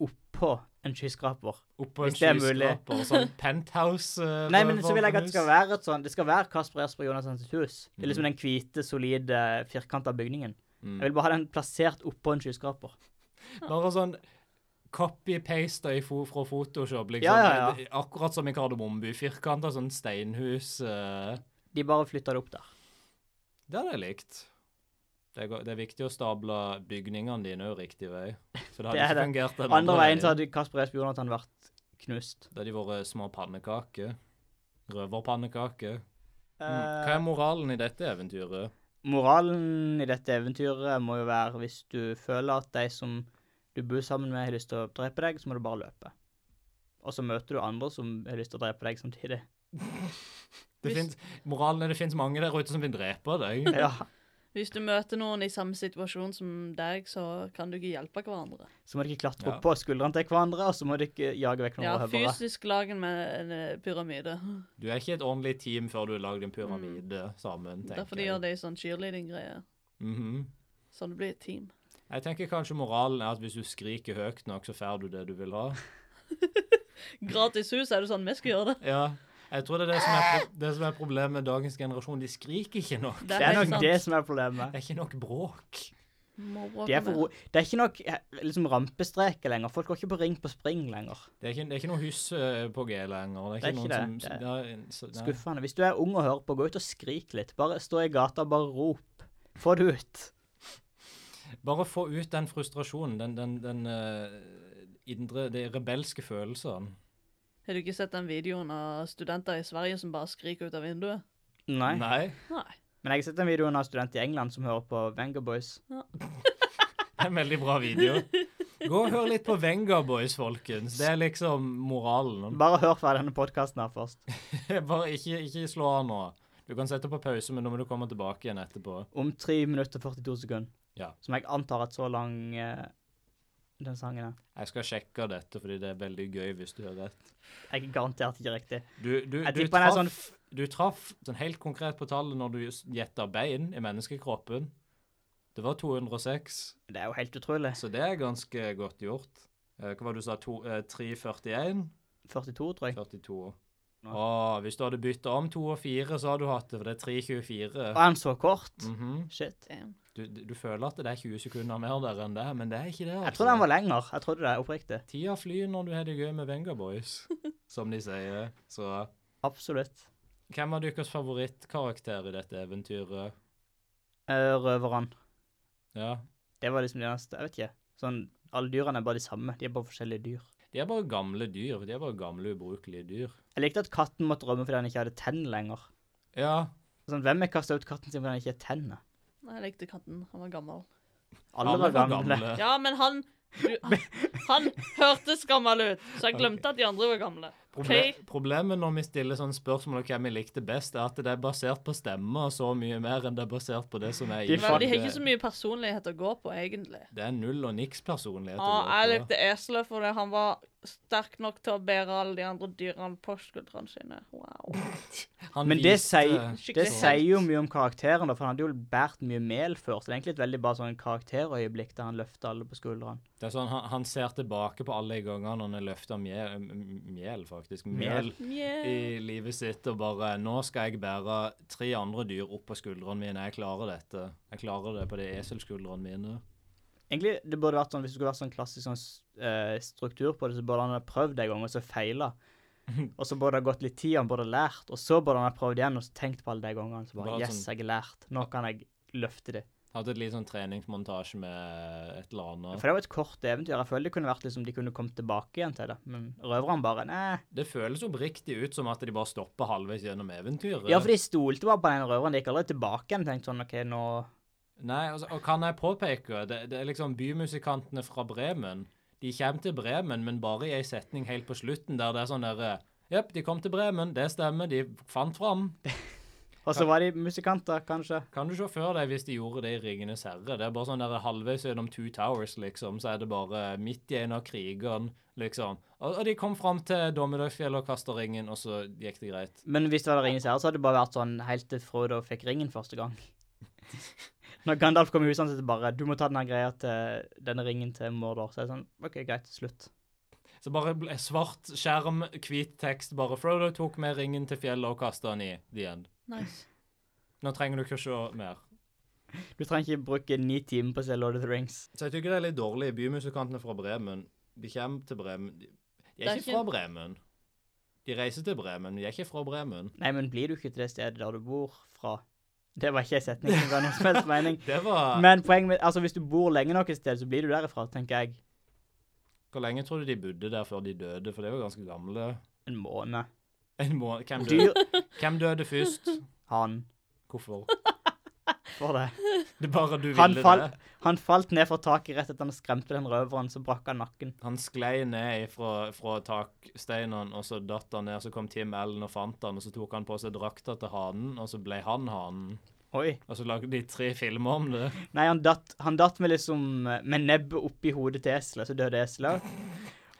[SPEAKER 3] oppå en skyskraper.
[SPEAKER 2] Oppå en
[SPEAKER 3] Hvis det er mulig.
[SPEAKER 2] skyskraper, sånn penthouse eh,
[SPEAKER 3] Nei, men så vil jeg at det skal
[SPEAKER 2] røverhus.
[SPEAKER 3] være et sånn Det skal være Kasper Jesper Jonassens hus. Det er liksom den hvite, solide, firkanta bygningen.
[SPEAKER 2] Mm.
[SPEAKER 3] Jeg vil bare ha den plassert oppå en skyskraper.
[SPEAKER 2] Bare sånn copy-paste i fo fra Photoshop, liksom.
[SPEAKER 3] Ja, ja, ja.
[SPEAKER 2] Akkurat som i Kardemommeby. Firkanta sånn steinhus. eh.
[SPEAKER 3] De bare flytter det opp der.
[SPEAKER 2] Det hadde jeg likt. Det er, go- det er viktig å stable bygningene dine jo riktig vei. For det hadde
[SPEAKER 3] Det er
[SPEAKER 2] ikke
[SPEAKER 3] det.
[SPEAKER 2] fungert den
[SPEAKER 3] Andre veien så hadde Kasper Jesper Jonathan vært knust.
[SPEAKER 2] Da hadde de vært små pannekaker. Røverpannekaker. Mm.
[SPEAKER 3] Eh,
[SPEAKER 2] Hva er moralen i dette eventyret?
[SPEAKER 3] Moralen i dette eventyret må jo være hvis du føler at de som du bor sammen med, har lyst til å drepe deg, så må du bare løpe. Og så møter du andre som har lyst til å drepe deg samtidig.
[SPEAKER 2] Det
[SPEAKER 4] Hvis-
[SPEAKER 2] finnes, moralen er det finnes mange der ute som vil drepe deg.
[SPEAKER 3] Ja.
[SPEAKER 4] Hvis du møter noen i samme situasjon som deg, så kan du ikke hjelpe hverandre.
[SPEAKER 3] Så må dere klatre
[SPEAKER 2] Ja.
[SPEAKER 3] opp på skuldrene til hverandre, og så må dere jage vekk noen
[SPEAKER 4] Ja,
[SPEAKER 3] røvere.
[SPEAKER 4] fysisk lag med en eh, pyramide.
[SPEAKER 2] Du er ikke et ordentlig team før du har lagd en pyramide
[SPEAKER 3] Mm.
[SPEAKER 2] sammen, tenker
[SPEAKER 4] Derfor de
[SPEAKER 2] jeg.
[SPEAKER 4] gjør det i sånn cheerleading-greier.
[SPEAKER 2] Mhm.
[SPEAKER 4] Så det blir et team.
[SPEAKER 2] Jeg tenker kanskje moralen er at hvis du skriker høyt nok, så får du det du vil ha.
[SPEAKER 4] Gratis hus, er det sånn vi skal gjøre det?
[SPEAKER 2] Ja, jeg tror det er det som er, pro det som er problemet med dagens generasjon. De skriker ikke nok.
[SPEAKER 3] Det er
[SPEAKER 4] helt
[SPEAKER 3] nok det som er problemet.
[SPEAKER 2] Det er ikke nok bråk.
[SPEAKER 4] Må bråke
[SPEAKER 3] Det er, for,
[SPEAKER 4] mer.
[SPEAKER 3] ro- det er ikke nok eh, liksom, rampestreker lenger. Folk går ikke på ring på spring lenger.
[SPEAKER 2] Det er ikke, det er ikke noe huss eh, på G lenger. Det er ikke,
[SPEAKER 3] Det er ikke
[SPEAKER 2] noen
[SPEAKER 3] det.
[SPEAKER 2] som...
[SPEAKER 3] Det
[SPEAKER 2] Det er, så, nei.
[SPEAKER 3] Skuffende. Hvis du er ung og hører på, gå ut og skrik litt. Bare stå i gata og bare rop. Få det ut.
[SPEAKER 2] Bare få ut den frustrasjonen, den, den, den eh, indre, de rebelske følelsene.
[SPEAKER 4] Har du ikke sett den videoen av studenter i Sverige som bare skriker ut av vinduet?
[SPEAKER 3] Nei.
[SPEAKER 2] Nei.
[SPEAKER 4] Nei.
[SPEAKER 3] Men jeg har sett en video av en student i England som hører på Venga Boys.
[SPEAKER 2] Det er en veldig bra video. Gå og hør litt på Venga Boys, folkens. Det er liksom moralen.
[SPEAKER 3] Bare hør fra denne podkasten her først.
[SPEAKER 2] Bare ikke, ikke slå av nå. Du kan sette på pause, men da må du komme tilbake igjen etterpå.
[SPEAKER 3] Om 3 minutter og 42 sekunder.
[SPEAKER 2] Ja.
[SPEAKER 3] Som jeg antar at så lang eh, den sangen er.
[SPEAKER 2] Jeg skal sjekke dette, fordi det er veldig gøy hvis du gjør rett.
[SPEAKER 3] Jeg er garantert ikke riktig.
[SPEAKER 2] Du, du,
[SPEAKER 3] Jeg
[SPEAKER 2] du,
[SPEAKER 3] tipper den er
[SPEAKER 2] traff,
[SPEAKER 3] sånn
[SPEAKER 2] du traff sånn helt konkret på tallet når du gjetta bein i menneskekroppen. Det var 206,
[SPEAKER 3] Det er jo helt utrolig.
[SPEAKER 2] så det er ganske godt gjort. Eh, Hva var det du sa? To- eh, 341?
[SPEAKER 3] 42, tror jeg.
[SPEAKER 2] 42. Å, hvis du hadde bytta om to og fire, så hadde du hatt det, for det er 324.
[SPEAKER 3] Og han så kort.
[SPEAKER 2] Mhm.
[SPEAKER 3] Shit.
[SPEAKER 4] Damn.
[SPEAKER 2] du, du du føler at det er 20 sekunder mer der enn det, men det er ikke det. altså.
[SPEAKER 3] Jeg trodde han var lenger. Jeg trodde det, oppriktig.
[SPEAKER 2] Tida flyr når du har det gøy med Venga Boys, som de sier. Så
[SPEAKER 3] Absolutt.
[SPEAKER 2] Hvem er deres favorittkarakter i dette eventyret?
[SPEAKER 3] Eh, Røverne.
[SPEAKER 2] Ja.
[SPEAKER 3] Det var liksom det eneste. Jeg vet ikke. Sånn, Alle dyrene er bare de samme. De er bare forskjellige dyr.
[SPEAKER 2] De er bare gamle dyr. De er bare gamle, ubrukelige dyr.
[SPEAKER 3] Jeg likte at katten måtte rømme fordi han ikke hadde tenn lenger.
[SPEAKER 2] Ja.
[SPEAKER 3] Sånn, Hvem har kasta ut katten sin fordi han ikke har tenner?
[SPEAKER 4] Nei, jeg likte katten. Han var gammel.
[SPEAKER 3] Alle var gamle.
[SPEAKER 4] Ja, men han du, han, han hørtes gammel ut, så jeg glemte at de andre var gamle.
[SPEAKER 2] Proble
[SPEAKER 4] Ok.
[SPEAKER 2] problemet når vi stiller sånne spørsmål om hvem vi likte best, er at det er basert på stemmer så mye mer enn det er basert på det som er i
[SPEAKER 3] De
[SPEAKER 4] Men de har ikke
[SPEAKER 2] det-
[SPEAKER 4] så mye personlighet å gå på, egentlig.
[SPEAKER 2] Det er null og niks personlighet. å
[SPEAKER 4] Ja,
[SPEAKER 2] gå
[SPEAKER 4] jeg
[SPEAKER 2] på.
[SPEAKER 4] likte eselet fordi han var sterk nok til å bære alle de andre dyrene på skuldrene sine. Wow.
[SPEAKER 2] Han
[SPEAKER 3] Men det
[SPEAKER 2] viste-
[SPEAKER 3] sier, det
[SPEAKER 4] Skikkelig
[SPEAKER 3] sier jo mye om karakteren, da, for han hadde jo båret mye mel før. Så det er egentlig et veldig bare sånn karakterøyeblikk der han løfter alle på skuldrene.
[SPEAKER 2] Det er sånn, han, han ser tilbake på alle de gangene han har løfta mjel, m- mjel, faktisk. Mel
[SPEAKER 4] Yeah.
[SPEAKER 2] i livet sitt og bare Nå skal jeg bære tre andre dyr opp på skuldrene mine. Jeg klarer dette. Jeg klarer det på de eselskuldrene mine.
[SPEAKER 3] Egentlig, det burde vært sånn, Hvis det skulle vært sånn klassisk sånn, s- eh, struktur på det, så burde han ha prøvd en gang, og så feila. Og så burde det ha gått litt tid, han burde ha lært, og så burde han ha prøvd igjen og så tenkt på alle de gangene. Så bare sånn
[SPEAKER 2] Bare
[SPEAKER 3] Yes, jeg har lært. Nå kan jeg løfte det.
[SPEAKER 2] Hadde et litt sånn treningsmontasje med et eller
[SPEAKER 3] For
[SPEAKER 2] annet.
[SPEAKER 3] det er jo et kort eventyr. Jeg føler det kunne vært liksom, de kunne kommet tilbake igjen til det, men røverne bare Nei.
[SPEAKER 2] Det føles oppriktig ut som at de bare stopper halvveis gjennom eventyret.
[SPEAKER 3] Ja, for de stolte bare på den røveren. De gikk aldri tilbake igjen og tenkte sånn OK, nå
[SPEAKER 2] Nei, altså, og kan jeg påpeke, det, det er liksom bymusikantene fra Bremen. De kommer til Bremen, men bare i ei setning helt eh, på slutten der det er sånn derre Jepp, de kom til Bremen, det stemmer, de fant fram.
[SPEAKER 3] Og så var de musikanter, kanskje.
[SPEAKER 2] Kan du se før deg hvis de gjorde det i Ringenes herre? Det er bare sånn der halvveis gjennom Two Towers, liksom, så er det bare midt i en av krigene, liksom. Og, og de kom fram til Dommedagsfjellet og kasta ringen, og så gikk det greit.
[SPEAKER 3] Men hvis det var Ringens herre, så hadde det bare vært sånn helt til Frodo fikk ringen første gang. Når Gandalf kom i huset, så er det bare 'Du må ta denne greia til denne ringen til Mordor'. Så er det sånn OK, greit. Slutt.
[SPEAKER 2] Så bare ble- svart skjerm, hvit tekst, bare Frodo tok med ringen til fjellet og kasta den i the end.
[SPEAKER 4] Nice.
[SPEAKER 2] Nå trenger du ikke å se mer.
[SPEAKER 3] Du trenger ikke bruke ni timer på å se Lord of the Rings.
[SPEAKER 2] Så jeg tykker det er litt dårlig. Bymusikantene fra Bremen, de kommer til Bremen De, de
[SPEAKER 4] Det
[SPEAKER 2] er
[SPEAKER 4] er
[SPEAKER 2] ikke fra Bremen. De reiser til Bremen, de er ikke fra Bremen.
[SPEAKER 3] Nei, men blir du ikke til det stedet der du bor fra? Det var ikke en setning som ga noen som helst mening.
[SPEAKER 2] Det var
[SPEAKER 3] Men poenget mitt Altså, hvis du bor lenge nok et sted, så blir du derifra, tenker jeg.
[SPEAKER 2] Hvor lenge tror du de bodde der før de døde? For de var ganske gamle.
[SPEAKER 3] En måned.
[SPEAKER 2] En måned. Hvem
[SPEAKER 3] Dyr
[SPEAKER 2] døde, Hvem døde først?
[SPEAKER 3] Han.
[SPEAKER 2] Hvorfor?
[SPEAKER 3] For det.
[SPEAKER 2] Det er bare du
[SPEAKER 3] Han
[SPEAKER 2] ville
[SPEAKER 3] falt,
[SPEAKER 2] det.
[SPEAKER 3] han falt ned fra taket rett etter han skremte den røveren, så brakk han nakken.
[SPEAKER 2] Han sklei ned fra, fra taksteinene, og så datt han ned. Så kom Tim Allen og fant han, og så tok han på seg drakta til hanen, og så ble han hanen.
[SPEAKER 3] Oi.
[SPEAKER 2] Og så lagde de tre filmer om det.
[SPEAKER 3] Nei, han datt, han datt med liksom Med nebbet oppi hodet til eselet, så døde eselet.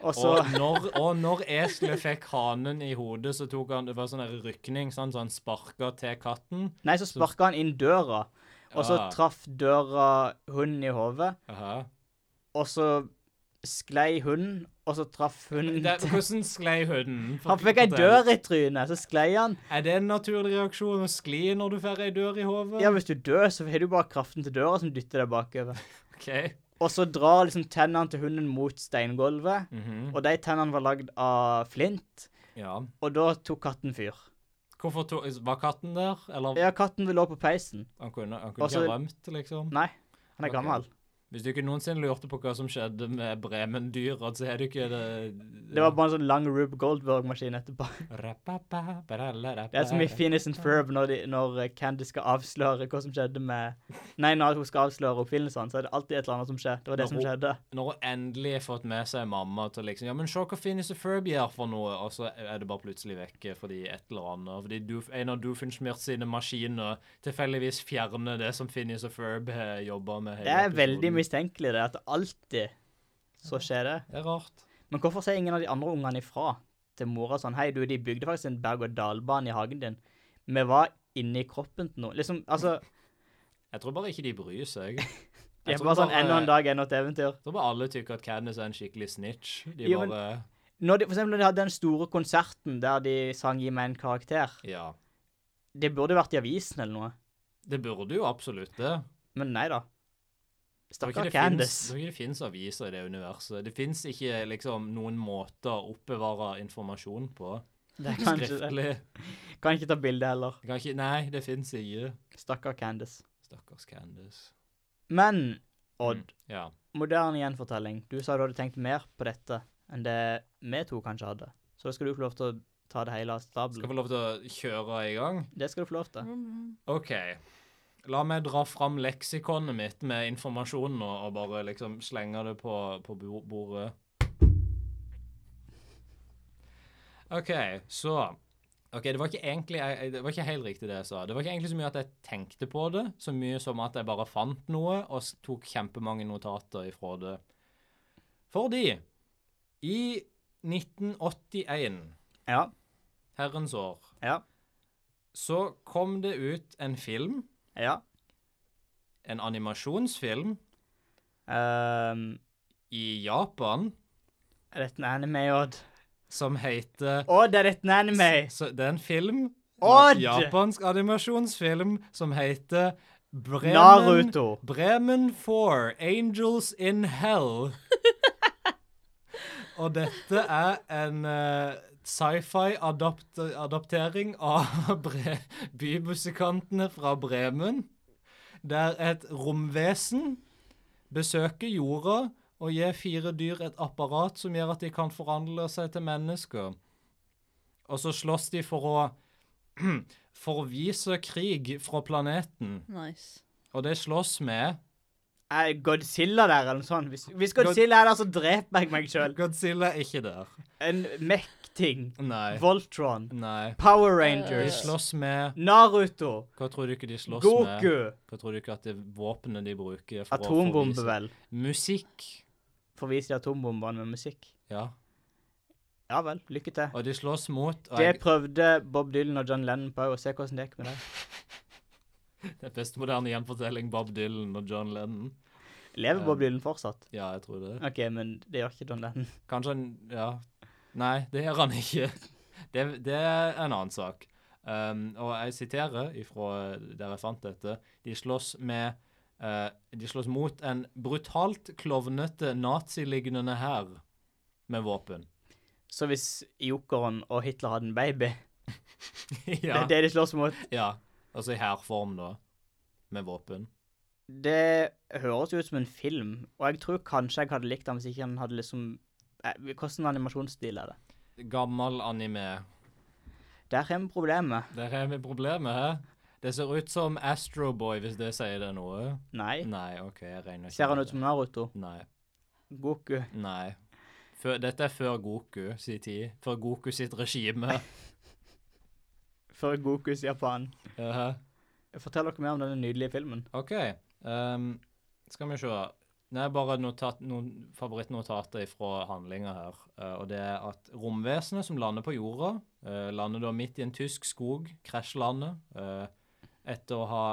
[SPEAKER 3] Og så
[SPEAKER 2] Og når, og når eselet fikk hanen i hodet, så tok han Det var sånn der rykning, sant? så han sparka til katten.
[SPEAKER 3] Nei, så sparka han inn døra, og så
[SPEAKER 2] Ja.
[SPEAKER 3] traff døra hunden i hodet,
[SPEAKER 2] Aha.
[SPEAKER 3] og så sklei hunden, og så traff hunden
[SPEAKER 2] Det,
[SPEAKER 3] til
[SPEAKER 2] hvordan sklei hunden?
[SPEAKER 3] Mm. Han fikk ei
[SPEAKER 2] Fortell.
[SPEAKER 3] dør i trynet, så sklei han.
[SPEAKER 2] Er det en naturlig reaksjon å skli når du får ei dør i hodet?
[SPEAKER 3] Ja, hvis du dør, så har du bare kraften til døra som dytter deg bakover.
[SPEAKER 2] OK.
[SPEAKER 3] Og så drar liksom tennene til hunden mot steingulvet,
[SPEAKER 2] Mhm.
[SPEAKER 3] og de tennene var lagd av flint,
[SPEAKER 2] Ja.
[SPEAKER 3] og da tok katten fyr.
[SPEAKER 2] Hvorfor to, Var katten der? Eller
[SPEAKER 3] Ja, katten lå på peisen.
[SPEAKER 2] han kunne, han kunne
[SPEAKER 3] Altså-
[SPEAKER 2] ikke ha rømt, liksom?
[SPEAKER 3] Nei, han er
[SPEAKER 2] Ok.
[SPEAKER 3] gammel.
[SPEAKER 2] Hvis du ikke noensinne lurte på hva som skjedde med Bremen-dyra, så er du ikke det
[SPEAKER 3] Det var bare en sånn lang Rube Goldberg-maskin etterpå. Det er som i Phineas and Ferb når, de, når Candy skal avsløre hva som skjedde med Nei, når hun skal avsløre oppfinnelsene, så er det alltid et eller annet som skjer. Det var det
[SPEAKER 2] Når
[SPEAKER 3] som
[SPEAKER 2] hun-
[SPEAKER 3] skjedde.
[SPEAKER 2] Når hun endelig har fått med seg mamma til liksom Ja, men se hva Phineas og Ferb gjør for noe, og så er det bare plutselig vekke fordi et eller annet Fordi Doof, en av Doofenshmirts sine maskiner tilfeldigvis fjerner det som Phineas og Ferb har jobba med. hele
[SPEAKER 3] Det er veldig
[SPEAKER 2] episoden.
[SPEAKER 3] mistenkelig, det, at det alltid så skjer det.
[SPEAKER 2] Det er rart.
[SPEAKER 3] Men hvorfor sier ingen av de andre ungene ifra til mora sånn Hei, du, de bygde faktisk en berg-og-dal-bane i hagen din. Vi var inni kroppen til noen. Liksom, altså
[SPEAKER 2] Jeg tror bare ikke de bryr seg.
[SPEAKER 3] Det
[SPEAKER 2] Jeg
[SPEAKER 3] er
[SPEAKER 2] tror eh,
[SPEAKER 3] bare sånn enda
[SPEAKER 2] jeg
[SPEAKER 3] en dag, enda et eventyr.
[SPEAKER 2] tror bare alle tykker at Cadnes er en skikkelig snitch. De
[SPEAKER 3] Jo, men-
[SPEAKER 2] bare
[SPEAKER 3] Når de, for eksempel når de hadde den store konserten der de sang 'Gi meg en karakter',
[SPEAKER 2] Ja.
[SPEAKER 3] det burde vært i avisen eller noe.
[SPEAKER 2] Det burde jo absolutt det.
[SPEAKER 3] Men nei da.
[SPEAKER 2] Tror ikke
[SPEAKER 3] Stakkar
[SPEAKER 2] det finnes-
[SPEAKER 3] Candace.
[SPEAKER 2] tror ikke det fins aviser i det universet. Det fins ikke liksom noen måter å oppbevare informasjon på.
[SPEAKER 3] Det er kanskje det.
[SPEAKER 2] Skriftlig.
[SPEAKER 3] Kan ikke ta bilde heller.
[SPEAKER 2] Det kan ikke, nei, det fins ikke.
[SPEAKER 3] Stakkar Candace.
[SPEAKER 2] Stakkars Candace.
[SPEAKER 3] Men, Odd,
[SPEAKER 2] Ja.
[SPEAKER 3] moderne gjenfortelling. Du sa du hadde tenkt mer på dette enn det vi to kanskje hadde. Så da skal du få lov til å ta det hele av
[SPEAKER 2] Skal jeg
[SPEAKER 3] stabelen.
[SPEAKER 2] få lov til å kjøre i gang?
[SPEAKER 3] Det skal du få lov
[SPEAKER 4] Mm.
[SPEAKER 3] til.
[SPEAKER 2] OK. La meg dra fram leksikonet mitt med informasjon nå, og bare liksom slenge det på, på bo- bordet. OK, så OK, det var ikke egentlig jeg- jeg- Det var ikke helt riktig, det jeg sa. Det var ikke egentlig så mye at jeg tenkte på det, så mye som at jeg bare fant noe og s- tok kjempemange notater ifra det. Fordi i 1981,
[SPEAKER 3] Ja.
[SPEAKER 2] herrens år,
[SPEAKER 3] Ja.
[SPEAKER 2] så kom det ut en film
[SPEAKER 3] Ja.
[SPEAKER 2] en animasjonsfilm
[SPEAKER 3] Ehm,
[SPEAKER 2] i Japan
[SPEAKER 3] er dette en anime, Odd?
[SPEAKER 2] som heter
[SPEAKER 3] Odd, er dette en anime?
[SPEAKER 2] så Det er en film,
[SPEAKER 3] Odd!
[SPEAKER 2] en japansk animasjonsfilm, som heter Bremen,
[SPEAKER 3] Naruto.
[SPEAKER 2] Bremen 4, Angels in Hell. Og dette er en eh, sci-fi-adaptering av bre bymusikantene fra Bremen, der et romvesen besøker jorda og gir fire dyr et apparat som gjør at de kan forandre seg til mennesker. Og så slåss de for å forvise krig fra planeten.
[SPEAKER 4] Nice.
[SPEAKER 2] Og det slåss med
[SPEAKER 3] Er Godzilla der, eller noe sånt? Hvis, hvis Godzilla er der, så dreper jeg meg sjøl.
[SPEAKER 2] Godzilla er ikke der.
[SPEAKER 3] En mech-ting.
[SPEAKER 2] Nei.
[SPEAKER 3] Voltron.
[SPEAKER 2] Nei.
[SPEAKER 3] Power
[SPEAKER 2] De
[SPEAKER 3] Rangers.
[SPEAKER 2] slåss med
[SPEAKER 3] Naruto.
[SPEAKER 2] Hva tror du ikke de slåss med?
[SPEAKER 3] Goku.
[SPEAKER 2] Hva tror du ikke at det våpenet de bruker for
[SPEAKER 3] Atombombe,
[SPEAKER 2] å forvise?
[SPEAKER 3] vel.
[SPEAKER 2] Musikk.
[SPEAKER 3] Forviser de atombombene med musikk?
[SPEAKER 2] Ja.
[SPEAKER 3] Ja vel. Lykke til.
[SPEAKER 2] Og de slåss mot og
[SPEAKER 3] Det
[SPEAKER 2] jeg,
[SPEAKER 3] prøvde Bob Dylan og John Lennon på òg, og se hvordan det gikk med det.
[SPEAKER 2] Det er best moderne gjenfortelling Bob Dylan og John Lennon.
[SPEAKER 3] Lever Bob
[SPEAKER 2] Um,
[SPEAKER 3] Dylan fortsatt?
[SPEAKER 2] Ja, jeg tror det.
[SPEAKER 3] OK, men det gjør ikke John Lennon.
[SPEAKER 2] Kanskje han Ja. Nei, det gjør han ikke. Det, det er en annen sak. Um, og jeg siterer ifra der jeg fant dette. De slåss med eh, De slåss mot en brutalt klovnete nazilignende hær med våpen.
[SPEAKER 3] Så hvis jokeren og Hitler hadde en baby Det
[SPEAKER 2] ja.
[SPEAKER 3] er det de slåss mot.
[SPEAKER 2] ja. Altså i hærform, da. Med våpen.
[SPEAKER 3] Det høres jo ut som en film, og jeg tror kanskje jeg hadde likt den hvis ikke den hadde liksom eh, Hvordan animasjonsstil er det?
[SPEAKER 2] Gammel anime.
[SPEAKER 3] Der har vi problemet.
[SPEAKER 2] Der har vi problemet, hæ? Det ser ut som Astroboy, hvis det sier det noe.
[SPEAKER 3] Nei.
[SPEAKER 2] Nei, OK, jeg regner ikke
[SPEAKER 3] Ser han
[SPEAKER 2] med det.
[SPEAKER 3] ut som Naruto?
[SPEAKER 2] Nei.
[SPEAKER 3] Goku?
[SPEAKER 2] Nei. Før, dette er før Goku sin tid. Før Goku sitt regime.
[SPEAKER 3] Før Goku sier faen.
[SPEAKER 2] Eh,
[SPEAKER 3] Fortell dere mer om denne nydelige filmen.
[SPEAKER 2] OK. ehm, skal vi se. Det er bare notat, noen favorittnotater fra handlinga her. eh, og det er at romvesenet som lander på jorda, eh, lander da midt i en tysk skog, krasjlander, eh, etter å ha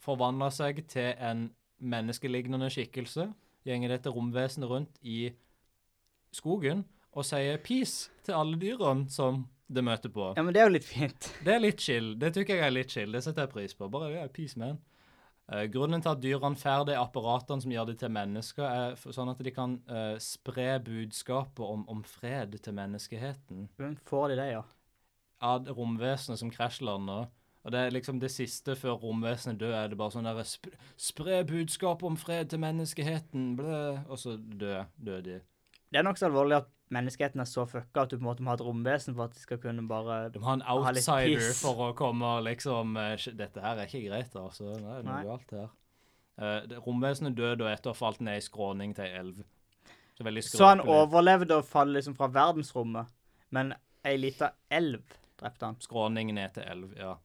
[SPEAKER 2] forvandla seg til en menneskelignende skikkelse. Gjenger dette romvesenet rundt i skogen og sier 'peace' til alle dyrene som det møter på.
[SPEAKER 3] Ja, men det er jo litt fint.
[SPEAKER 2] Det er litt chill. Det tykker jeg er litt chill. Det setter jeg pris på. Bare ja, peace, man. Eh, grunnen til at dyrene får de apparatene som gjør de til mennesker, er for, sånn at de kan eh, spre budskapet om, om fred til menneskeheten.
[SPEAKER 3] Hvem får de det, ja?
[SPEAKER 2] Av romvesenet som krasjlander. Og det er liksom det siste før romvesenet dør, er det bare sånn derre sp Spre budskapet om fred til menneskeheten, blø. Og så dør dør de.
[SPEAKER 3] Det er nokså alvorlig at menneskeheten er så fucka at du på en måte må ha et romvesen for at de skal kunne bare
[SPEAKER 2] De har en
[SPEAKER 3] Ha litt
[SPEAKER 2] outsider
[SPEAKER 3] piss.
[SPEAKER 2] for å komme og liksom eh, sh- Dette her er ikke greit, altså. Nei, det er noe
[SPEAKER 3] Nei.
[SPEAKER 2] galt her. Eh, det- Romvesenet døde og etter å ha falt ned i skråning til ei elv. Så veldig
[SPEAKER 3] Så han
[SPEAKER 2] skrøpelig.
[SPEAKER 3] overlevde å falle liksom fra verdensrommet, men ei lita elv drepte han.
[SPEAKER 2] Skråning ned til elv, ja.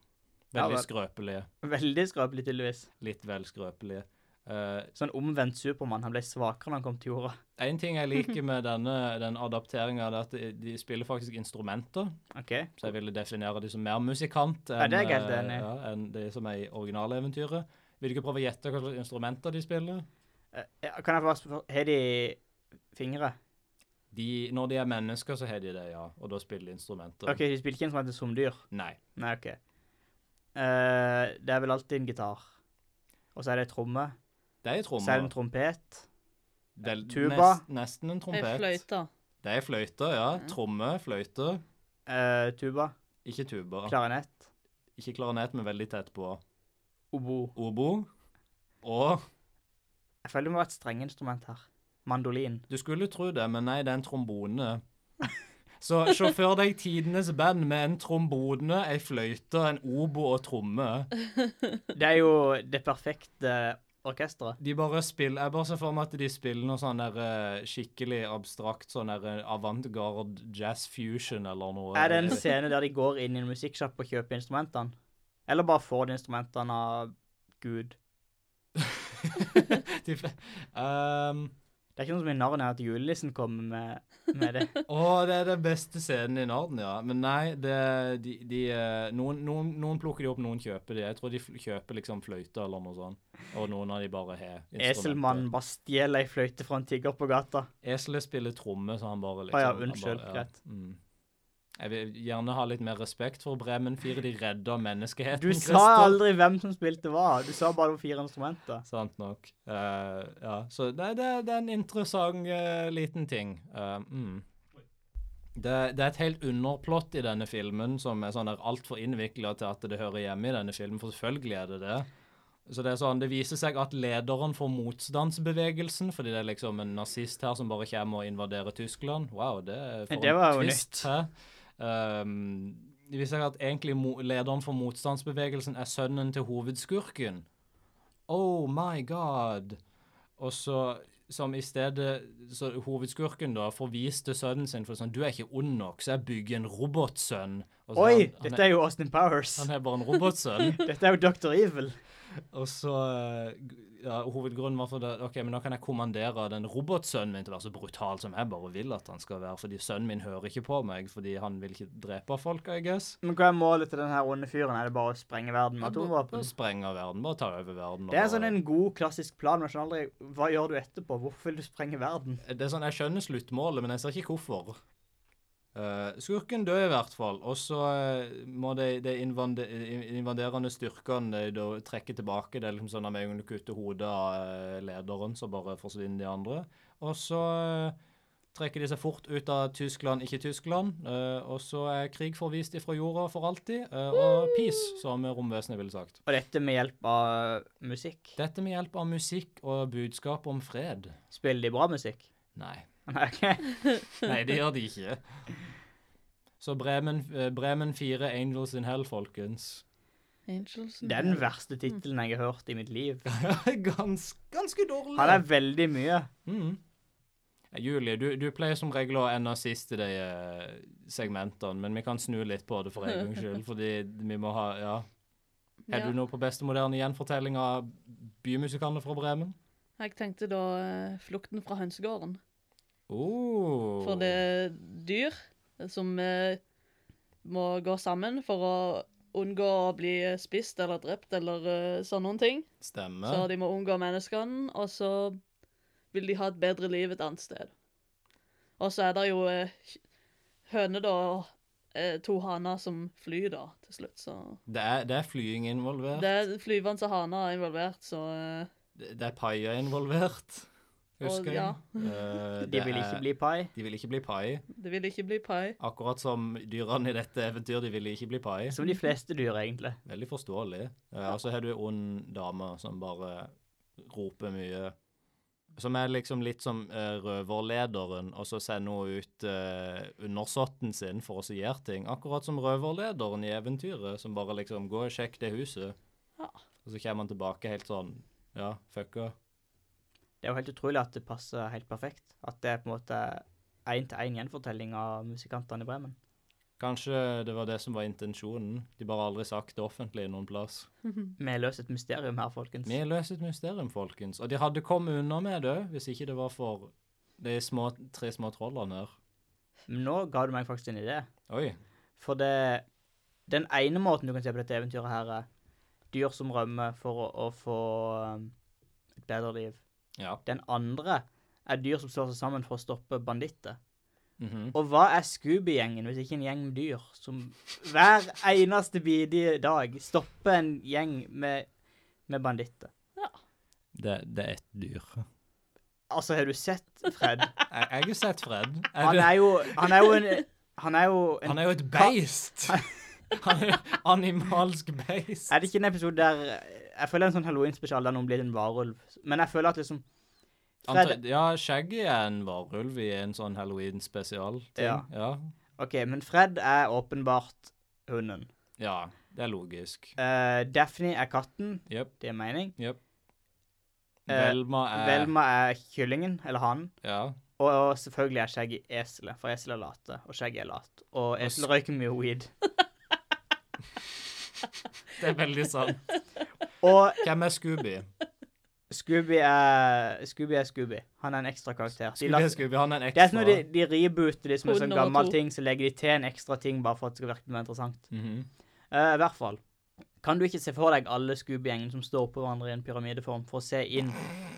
[SPEAKER 3] Ja
[SPEAKER 2] Veldig
[SPEAKER 3] vel.
[SPEAKER 2] skrøpelig.
[SPEAKER 3] Veldig skrøpelig, tydeligvis.
[SPEAKER 2] Litt vel skrøpelig. Eh,
[SPEAKER 3] Sånn omvendt Supermann. Han ble svakere når han kom til jorda.
[SPEAKER 2] en ting jeg liker med denne den adapteringa, er at de, de spiller faktisk instrumenter.
[SPEAKER 3] OK?
[SPEAKER 2] Så jeg ville definere de som mer musikant enn,
[SPEAKER 3] det er jeg helt
[SPEAKER 2] eh,
[SPEAKER 3] enig i.
[SPEAKER 2] ja, enn de som er i originaleventyret. Vil du ikke prøve å gjette hva slags instrumenter de spiller?
[SPEAKER 3] Eh, ja, Kan jeg bare spørre Har de fingre?
[SPEAKER 2] De, når de er mennesker, så har de det, ja. Og da spiller de instrumenter.
[SPEAKER 3] OK, de spiller ikke en som heter som dyr.
[SPEAKER 2] Nei.
[SPEAKER 3] Nei, OK. Eh, det er vel alltid en gitar. Og så er det en tromme.
[SPEAKER 2] Det er en tromme.
[SPEAKER 3] Så er det en trompet.
[SPEAKER 2] Det er
[SPEAKER 3] tuba.
[SPEAKER 2] Nest, nesten en
[SPEAKER 4] Ei
[SPEAKER 2] trompet.
[SPEAKER 4] fløyte.
[SPEAKER 2] Det er fløyte, ja.
[SPEAKER 4] Mm.
[SPEAKER 2] Tromme, fløyte.
[SPEAKER 3] eh, tuba.
[SPEAKER 2] Ikke tuba.
[SPEAKER 3] Klarinett.
[SPEAKER 2] Ikke klarinett, men veldig tett på.
[SPEAKER 3] Obo.
[SPEAKER 2] Obo. Og
[SPEAKER 3] Jeg føler det må være et strengeinstrument her. Mandolin.
[SPEAKER 2] du skulle tro det, men nei, det er en trombone. Så se for deg tidenes band med en trombone, ei fløyte, en obo og tromme.
[SPEAKER 3] Det er jo det perfekte orkesteret.
[SPEAKER 2] De bare spiller Jeg bare ser for meg at de spiller noe sånn der eh, skikkelig abstrakt sånn der eh, avantgarde jazz fusion eller noe.
[SPEAKER 3] Er det en scene der de går inn i en musikksjapp og kjøper instrumentene? Eller bare får de instrumentene av Gud?
[SPEAKER 2] De fl- Ehm,
[SPEAKER 3] Det er ikke noe som i Narnia at julenissen kommer med, med det.
[SPEAKER 2] Å, det er den beste scenen i Narden, ja. Men nei, det, de, de, eh, noen, noen, noen plukker de opp, noen kjøper de. Jeg tror de fl- kjøper liksom fløyte eller noe sånt. Og noen av de bare har instrumenter.
[SPEAKER 3] Eselmannen bare stjeler ei fløyte fra en tigger på gata.
[SPEAKER 2] Eselet spiller tromme, så han bare liksom
[SPEAKER 3] Å ja,
[SPEAKER 2] han
[SPEAKER 3] unnskyld,
[SPEAKER 2] bare-
[SPEAKER 3] greit.
[SPEAKER 2] Mm. Jeg vil gjerne ha litt mer respekt for Bremen 4. De redder menneskeheten.
[SPEAKER 3] Du sa
[SPEAKER 2] Christer.
[SPEAKER 3] aldri hvem som spilte hva. Du sa bare det var fire instrumenter.
[SPEAKER 2] Sant nok. Eh, ja, så nei, det, det er en interessant eh, liten ting. Eh, mm. det, det er et helt underplott i denne filmen som er sånn der altfor innvikla til at det hører hjemme i denne filmen, for selvfølgelig er det det. Så Det er sånn, det viser seg at lederen for motstandsbevegelsen, fordi det er liksom en nazist her som bare kommer og invaderer Tyskland Wow, det er for
[SPEAKER 3] Det var jo
[SPEAKER 2] en twist. Hæ? Um, det viser seg at egentlig mo lederen for motstandsbevegelsen er sønnen til hovedskurken. Oh my god. Og så som i stedet så hovedskurken da forviste sønnen sin for sånn Du er ikke ond nok, så jeg bygger en robotsønn. Og så
[SPEAKER 3] Oi!
[SPEAKER 2] Altså, han, han,
[SPEAKER 3] dette er jo Austin Powers.
[SPEAKER 2] er, han er bare en robotsønn.
[SPEAKER 3] Dette er jo Dr. Evil.
[SPEAKER 2] og så eh, g- ja, Hovedgrunnen var for det, OK, men da kan jeg kommandere den robotsønnen min til å være så brutal som jeg bare vil at han skal være, fordi sønnen min hører ikke på meg, fordi han vil ikke drepe folk, I guess.
[SPEAKER 3] Men hva er målet til denne onde fyren? Er det bare å sprenge verden med
[SPEAKER 2] Ja, bare-
[SPEAKER 3] atomvåpen?
[SPEAKER 2] Bare sprenge verden, bare ta over verden. og
[SPEAKER 3] Det er sånn
[SPEAKER 2] bare-
[SPEAKER 3] en god, klassisk plan, men jeg skjønner aldri hva gjør du etterpå? Hvorfor vil du sprenge verden?
[SPEAKER 2] Det er sånn, Jeg skjønner sluttmålet, men jeg ser ikke hvorfor. Eh, skurken dør i hvert fall, og så eh, må de, de invande, i- invaderende styrkene de, da trekke tilbake. Det er liksom sånn at Med en gang du kutter hodet av eh, lederen, så bare forsvinner de andre. Og så eh, trekker de seg fort ut av Tyskland, ikke Tyskland. eh, og så er krig forvist ifra jorda for alltid. eh, og peace, som romvesenet ville sagt.
[SPEAKER 3] Og dette med hjelp av musikk.
[SPEAKER 2] Dette med hjelp av musikk og budskap om fred.
[SPEAKER 3] Spiller de bra musikk?
[SPEAKER 2] Nei.
[SPEAKER 3] Nei, ok.
[SPEAKER 2] Nei, det gjør de ikke. Så Bremen, eh, Bremen 4, Angels in Hell, folkens.
[SPEAKER 4] Angels
[SPEAKER 3] Det er den verste tittelen jeg har hørt i mitt liv.
[SPEAKER 2] Gans, ganske dårlig.
[SPEAKER 3] Han er veldig mye.
[SPEAKER 2] Mm. Eh, Julie, du, du pleier som regel å ha en av siste de eh, segmentene, men vi kan snu litt på det for en gangs skyld, fordi vi må ha Ja. Er du
[SPEAKER 4] Ja.
[SPEAKER 2] nå på beste moderne gjenfortelling av bymusikalene fra Bremen?
[SPEAKER 4] Jeg tenkte da eh, flukten fra hønsegården.
[SPEAKER 2] Oh.
[SPEAKER 4] For det er dyr som eh, må gå sammen for å unngå å bli eh, spist eller drept eller eh, sånne ting. Så
[SPEAKER 2] Stemmer.
[SPEAKER 4] de må unngå menneskene, og så vil de ha et bedre liv et annet sted. Og så er det jo eh, høne, da, og eh, to haner som flyr, da, til slutt. Så
[SPEAKER 2] Det er, det er flying involvert.
[SPEAKER 4] det er flyvende haner involvert, så eh,
[SPEAKER 2] Det, det er paier involvert,
[SPEAKER 4] Og-
[SPEAKER 2] husker
[SPEAKER 4] ja.
[SPEAKER 2] jeg. Eh,
[SPEAKER 3] De
[SPEAKER 2] det
[SPEAKER 3] vil
[SPEAKER 2] er-
[SPEAKER 3] ikke bli pai.
[SPEAKER 2] De vil ikke bli pai.
[SPEAKER 4] det vil ikke bli pai.
[SPEAKER 2] Akkurat som dyrene i dette eventyret, de ville ikke bli pai.
[SPEAKER 3] Som de fleste dyr, egentlig.
[SPEAKER 2] Veldig forståelig. Eh, Og så har du ei ond dame som bare roper mye. Som er liksom litt som eh, røverlederen, og så sender hun ut eh, undersåtten sin for å så gjøre ting. Akkurat som røverlederen i eventyret, som bare liksom 'Gå og sjekk det huset'.
[SPEAKER 4] Ja.
[SPEAKER 2] Og så kommer han tilbake helt sånn Ja, fucka.
[SPEAKER 3] Det er jo helt utrolig at det passer helt perfekt. At det er på en måte én-til-én gjenfortelling av musikantene i Bremen.
[SPEAKER 2] Kanskje det var det som var intensjonen. De bare aldri sagt det offentlig noen plass.
[SPEAKER 3] Vi løser et mysterium her, folkens.
[SPEAKER 2] Vi løser et mysterium, folkens. Og de hadde kommet unna med det hvis ikke det var for de små, tre små trollene her.
[SPEAKER 3] Men nå ga du meg faktisk en idé.
[SPEAKER 2] Oi.
[SPEAKER 3] For det Den ene måten du kan se på dette eventyret her, er dyr som rømmer for å, å få um, et bedre liv.
[SPEAKER 2] Ja.
[SPEAKER 3] Den andre er dyr som slår seg sammen for å stoppe banditter.
[SPEAKER 2] mhm.
[SPEAKER 3] Og hva er Scooby-gjengen hvis ikke en gjeng med dyr som hver eneste bidige dag stopper en gjeng med, med banditter?
[SPEAKER 2] det, det er ett dyr.
[SPEAKER 3] Altså, har du sett Fred?
[SPEAKER 2] Jeg, jeg har sett Fred. Er
[SPEAKER 3] Han
[SPEAKER 2] det,
[SPEAKER 3] er jo Han er jo en han er jo en,
[SPEAKER 2] han er jo et beist. Han er jo animalsk beist.
[SPEAKER 3] Er det ikke en episode der Jeg føler en sånn halloween-spesial der noen blir en varulv. Men jeg føler at liksom Fred,
[SPEAKER 2] Anta- Ja, Shaggy er en varulv i en sånn halloween-spesial-ting.
[SPEAKER 3] Ja.
[SPEAKER 2] Ja.
[SPEAKER 3] OK, men Fred er åpenbart hunden.
[SPEAKER 2] ja. Det er logisk.
[SPEAKER 3] Eh, Daphne er katten.
[SPEAKER 2] Jepp.
[SPEAKER 3] Det er mening. Eh,
[SPEAKER 2] Velma er
[SPEAKER 3] Velma er kyllingen, eller hanen.
[SPEAKER 2] Ja.
[SPEAKER 3] Og, og selvfølgelig er Shaggy eselet, for eselet er late, og Shaggy er lat. Og esel røyker mye weed.
[SPEAKER 2] Det er veldig sant.
[SPEAKER 3] Og
[SPEAKER 2] Hvem er Scooby?
[SPEAKER 3] Scooby er Scooby. er Scooby. Han er en ekstra karakter. De
[SPEAKER 2] Scooby
[SPEAKER 3] la-
[SPEAKER 2] er Scooby. Han er en
[SPEAKER 3] Det er
[SPEAKER 2] ekstra.
[SPEAKER 3] som når de, de rebooter de som er
[SPEAKER 4] Kode
[SPEAKER 3] sånn
[SPEAKER 4] nummer
[SPEAKER 3] gammel
[SPEAKER 4] to.
[SPEAKER 3] ting, så legger de til en ekstra ting bare for at det skal virke mer interessant.
[SPEAKER 2] Mhm.
[SPEAKER 3] Eh, I hvert fall. Kan du ikke se for deg alle Scooby-gjengene som står oppå hverandre i en pyramideform for å se inn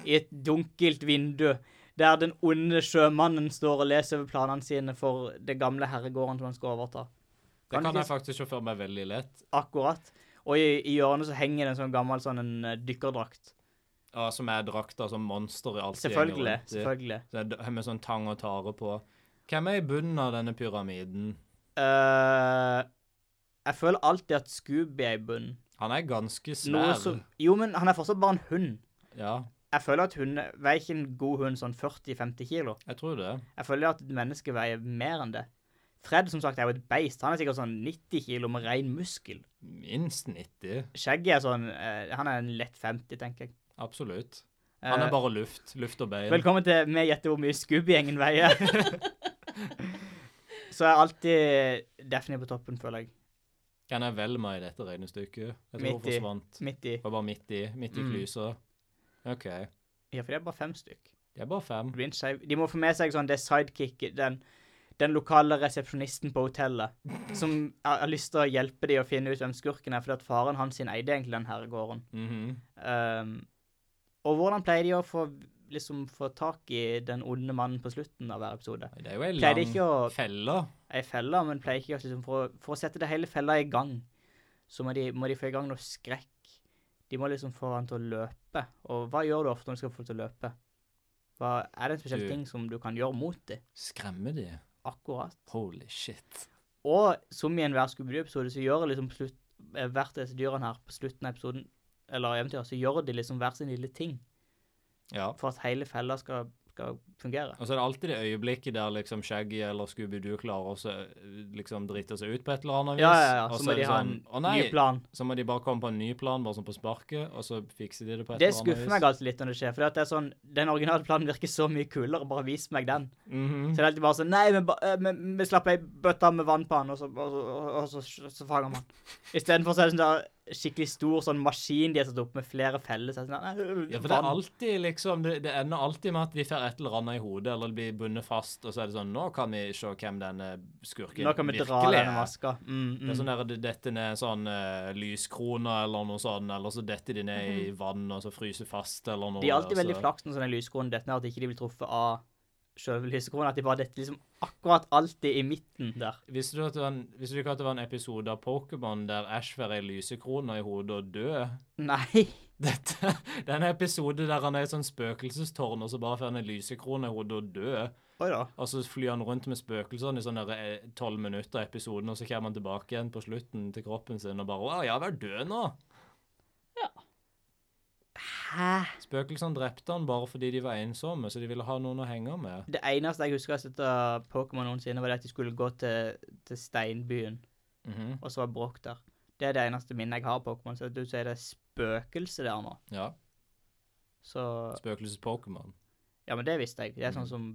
[SPEAKER 3] i et dunkelt vindu, der den onde sjømannen står og leser over planene sine for det gamle herregården som han skal overta?
[SPEAKER 2] Det
[SPEAKER 3] Kan
[SPEAKER 2] kan
[SPEAKER 3] ikke-
[SPEAKER 2] jeg faktisk se for meg veldig lett.
[SPEAKER 3] Akkurat. Og i, i hjørnet så henger det en sånn gammel sånn en eh, dykkerdrakt.
[SPEAKER 2] Ja, som er drakta som monster i alt
[SPEAKER 3] Selvfølgelig. selvfølgelig.
[SPEAKER 2] Med sånn tang og tare på. Hvem er i bunnen av denne pyramiden?
[SPEAKER 3] Eh, jeg føler alltid at Scooby er i bunnen.
[SPEAKER 2] Han er ganske
[SPEAKER 3] Noe
[SPEAKER 2] svær.
[SPEAKER 3] som, jo, men han er fortsatt bare en hund.
[SPEAKER 2] Ja,
[SPEAKER 3] Jeg føler at hund veier ikke en god hund sånn 40-50 kilo.
[SPEAKER 2] jeg tror det.
[SPEAKER 3] Jeg føler at et menneske veier mer enn det. Fred som sagt, er jo et beist. Han er sikkert sånn 90 kilo med ren muskel.
[SPEAKER 2] Minst 90.
[SPEAKER 3] Skjegget er sånn eh, Han er en lett 50, tenker jeg.
[SPEAKER 2] Absolutt. Han
[SPEAKER 3] Eh,
[SPEAKER 2] er bare luft. Luft og bein.
[SPEAKER 3] Velkommen til Vi gjetter hvor mye Scooby-gjengen veier. Så er alltid Daphne på toppen, føler jeg.
[SPEAKER 2] Kan jeg vel meg i dette regnestykket? Jeg tror
[SPEAKER 3] Midt
[SPEAKER 2] hun
[SPEAKER 3] i.
[SPEAKER 2] forsvant.
[SPEAKER 3] Midt i.
[SPEAKER 2] Det var bare midt i. Midt i
[SPEAKER 3] Mm.
[SPEAKER 2] klysa. OK.
[SPEAKER 3] Ja, for det er bare fem stykk.
[SPEAKER 2] Det er bare fem.
[SPEAKER 3] Det blir en skeiv- De må få med seg sånn det sidekicket, den, den lokale resepsjonisten på hotellet, som har har lyst til å hjelpe dem å finne ut hvem skurken er, fordi at faren hans sin eide egentlig den herregården.
[SPEAKER 2] Mhm.
[SPEAKER 3] Ehm, og hvordan pleier de å få, liksom, få tak i den onde mannen på slutten av hver episode?
[SPEAKER 2] Det er jo ei
[SPEAKER 3] Pleier de ikke
[SPEAKER 2] lang
[SPEAKER 3] å
[SPEAKER 2] felle.
[SPEAKER 3] ei felle, men pleier ikke å liksom, for, å- for å sette det hele fella i gang, så må de, må de få i gang noe skrekk. De må liksom få han til å løpe. Og hva gjør du ofte når du skal få folk til å løpe? Hva, er det en spesiell
[SPEAKER 2] Du-
[SPEAKER 3] ting som du kan gjøre mot dem?
[SPEAKER 2] Skremmer de?
[SPEAKER 3] Akkurat.
[SPEAKER 2] Holy shit.
[SPEAKER 3] Og som i enhver Scooby-Doo-episode, så gjør liksom på slutt, eh, hvert av disse dyrene her på slutten av episoden, eller eventyret, så gjør de liksom hver sin lille ting
[SPEAKER 2] Ja.
[SPEAKER 3] for at hele fella skal, skal fungere.
[SPEAKER 2] Og så er det alltid det øyeblikket der liksom Shaggy eller Scooby-Doo klarer å se- liksom drite seg ut på et eller annet vis.
[SPEAKER 3] Ja, ja, ja.
[SPEAKER 2] Og
[SPEAKER 3] Så må
[SPEAKER 2] er
[SPEAKER 3] de
[SPEAKER 2] det
[SPEAKER 3] ha
[SPEAKER 2] sånn,
[SPEAKER 3] en
[SPEAKER 2] «Å nei,
[SPEAKER 3] ny plan.
[SPEAKER 2] Så må de bare komme på en ny plan, bare sånn på sparket, og så fikser de det på et
[SPEAKER 3] Det
[SPEAKER 2] eller annet vis.
[SPEAKER 3] skuffer meg alltid litt når det skjer. For det er sånn, den originale planen virker så mye kulere. Bare vis meg den. Så
[SPEAKER 2] Mhm.
[SPEAKER 3] det er alltid bare sånn Nei, vi, ba- eh, vi, vi slapp ei bøtte med vann på han, og så, og, og, og så, så fanger man han. Istedenfor så er det sånn der skikkelig stor sånn maskin de har satt opp med flere feller. Så er det sånn, nei, øh,
[SPEAKER 2] Ja, for det er
[SPEAKER 3] vann.
[SPEAKER 2] alltid liksom Det, det ender alltid med at de får et eller annet i hodet, eller det blir bundet fast, og så er det sånn Nå kan vi se hvem denne skurken
[SPEAKER 3] Nå kan vi dra
[SPEAKER 2] virkelig
[SPEAKER 3] denne
[SPEAKER 2] er.
[SPEAKER 3] maska. Mm,
[SPEAKER 2] Det er
[SPEAKER 3] mm.
[SPEAKER 2] sånn der, det detter ned sånn eh, lyskroner eller noe sånn, eller så detter de ned i vann og så fryser fast eller noe.
[SPEAKER 3] Mhm. De er
[SPEAKER 2] og
[SPEAKER 3] alltid
[SPEAKER 2] så-
[SPEAKER 3] veldig flaks når sånne lyskroner detter ned, at ikke de blir truffet av sjølve lysekronen. At de bare detter liksom akkurat alltid i midten der.
[SPEAKER 2] Visste du, at det var en, visste du ikke at det var en episode av Pokémon der Ash får ei lysekrone i hodet og dør?
[SPEAKER 3] Nei.
[SPEAKER 2] Dette, det er en episode der han er i et sånn spøkelsestårn, og så bare får han en lysekrone i hodet og dør.
[SPEAKER 3] Oi da.
[SPEAKER 2] Og så flyr han rundt med spøkelsene i sånn tolv minutter av episoden, og så kommer han tilbake igjen på slutten til kroppen sin og bare Å, jeg har vært død nå.
[SPEAKER 3] Hæ?
[SPEAKER 2] Spøkelsene drepte han bare fordi de var ensomme, så de ville ha noen å henge med.
[SPEAKER 3] Det eneste jeg husker jeg har sett av Pokémon noensinne, var det at de skulle gå til, til Steinbyen,
[SPEAKER 2] Mhm,
[SPEAKER 3] og så var Bråk der. Det er det eneste minnet jeg har av Pokémon. Så du sier det er spøkelse der nå.
[SPEAKER 2] Ja.
[SPEAKER 3] Så
[SPEAKER 2] Spøkelses-Pokémon.
[SPEAKER 3] Ja, men det visste jeg. Det er sånn
[SPEAKER 2] Mm.
[SPEAKER 3] som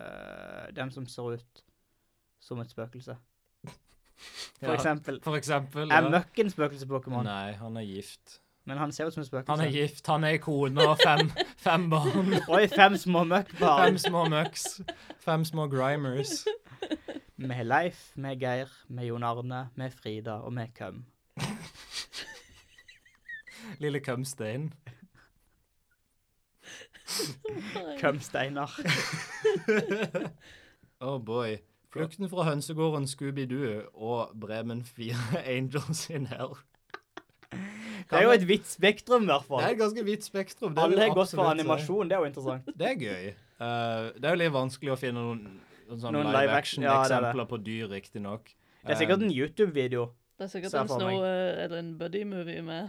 [SPEAKER 3] øh, Dem som ser ut som et spøkelse. For
[SPEAKER 2] Ja,
[SPEAKER 3] eksempel.
[SPEAKER 2] For eksempel
[SPEAKER 3] Er
[SPEAKER 2] ja.
[SPEAKER 3] Møkken spøkelse-Pokémon?
[SPEAKER 2] Nei, han er gift.
[SPEAKER 3] Men han ser ut som et spøkelse.
[SPEAKER 2] Han er gift, han er ei kone og fem, fem barn.
[SPEAKER 3] Oi, fem små møkkbarn.
[SPEAKER 2] Fem små møks. Fem små grimers.
[SPEAKER 3] Med Leif, med Geir, med Jon Arne, med Frida og med Køm.
[SPEAKER 2] Lille Kømstein.
[SPEAKER 3] Kømsteinar.
[SPEAKER 2] Oh boy. Flukten fra hønsegården Scooby-Doo og Bremen 4 Angels in Hell.
[SPEAKER 3] Det er jo et vidt spektrum, i hvert
[SPEAKER 2] Det er
[SPEAKER 3] fall.
[SPEAKER 2] et ganske vidt spektrum. det vil
[SPEAKER 3] Alle
[SPEAKER 2] jeg
[SPEAKER 3] har gått for
[SPEAKER 2] absolutt eh, si.
[SPEAKER 3] animasjon, det er jo interessant.
[SPEAKER 2] Det er gøy. Eh, det er jo litt vanskelig å finne noen, noen, sånne
[SPEAKER 3] Noen
[SPEAKER 2] live,
[SPEAKER 3] live action, ja, det er det.
[SPEAKER 2] action-eksempler på dyr, riktignok.
[SPEAKER 3] Det er sikkert en YouTube-video.
[SPEAKER 4] Det er sikkert
[SPEAKER 3] Ser jeg
[SPEAKER 4] en
[SPEAKER 3] for meg.
[SPEAKER 4] snow eh, eller en buddy-movie med.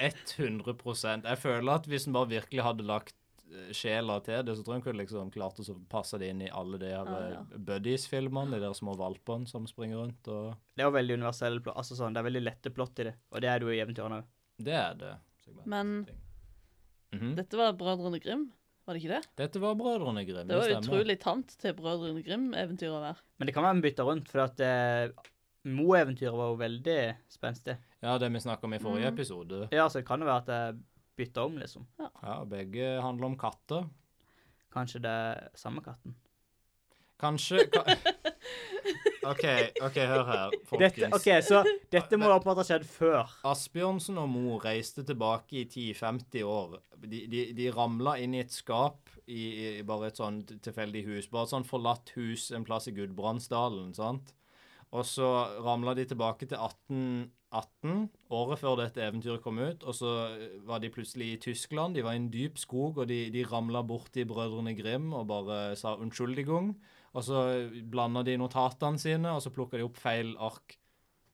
[SPEAKER 2] 100 Jeg føler at hvis en bare virkelig hadde lagt eh, sjela til det, så tror jeg en kunne liksom klart å så passe det inn i alle de her
[SPEAKER 4] Ja,
[SPEAKER 2] eh,
[SPEAKER 4] ja.
[SPEAKER 2] buddies-filmene, de der små valpene som springer rundt og
[SPEAKER 3] Det er jo veldig universell plott. Altså sånn, det er veldig lette plott i det, og det er det jo i eventyrene òg.
[SPEAKER 2] Det er det. segmentet.
[SPEAKER 4] Men-
[SPEAKER 2] Mhm.
[SPEAKER 4] Dette var Brødrene Grim, var det ikke det?
[SPEAKER 2] Dette var Brødrene Grimm.
[SPEAKER 4] Det var
[SPEAKER 2] stemmer.
[SPEAKER 4] utrolig tant til Brødrene Grim-eventyret hver.
[SPEAKER 3] Men det kan være vi bytter rundt, for at eh, Mo-eventyret var jo veldig spenstig.
[SPEAKER 2] Ja, det vi snakka om i forrige
[SPEAKER 4] Mm.
[SPEAKER 2] episode.
[SPEAKER 3] Ja, så det kan jo være at jeg bytter om, liksom.
[SPEAKER 2] Ja, Begge handler om katter.
[SPEAKER 3] Kanskje det er samme katten.
[SPEAKER 2] Kanskje ka OK, ok, hør her, folkens.
[SPEAKER 3] Dette, OK, så dette må åpenbart ha skjedd før.
[SPEAKER 2] Asbjørnsen og Mo reiste tilbake i 10-50 år. De, de, de ramla inn i et skap i, i bare et sånn tilfeldig hus. Bare et sånn forlatt hus en plass i Gudbrandsdalen, sant? Og så ramla de tilbake til 1818, året før dette eventyret kom ut. Og så var de plutselig i Tyskland. De var i en dyp skog, og de, de ramla borti Brødrene Grim og bare sa 'unnskyldigung'. Og så blanda de notatene sine, og så plukka de opp feil ark.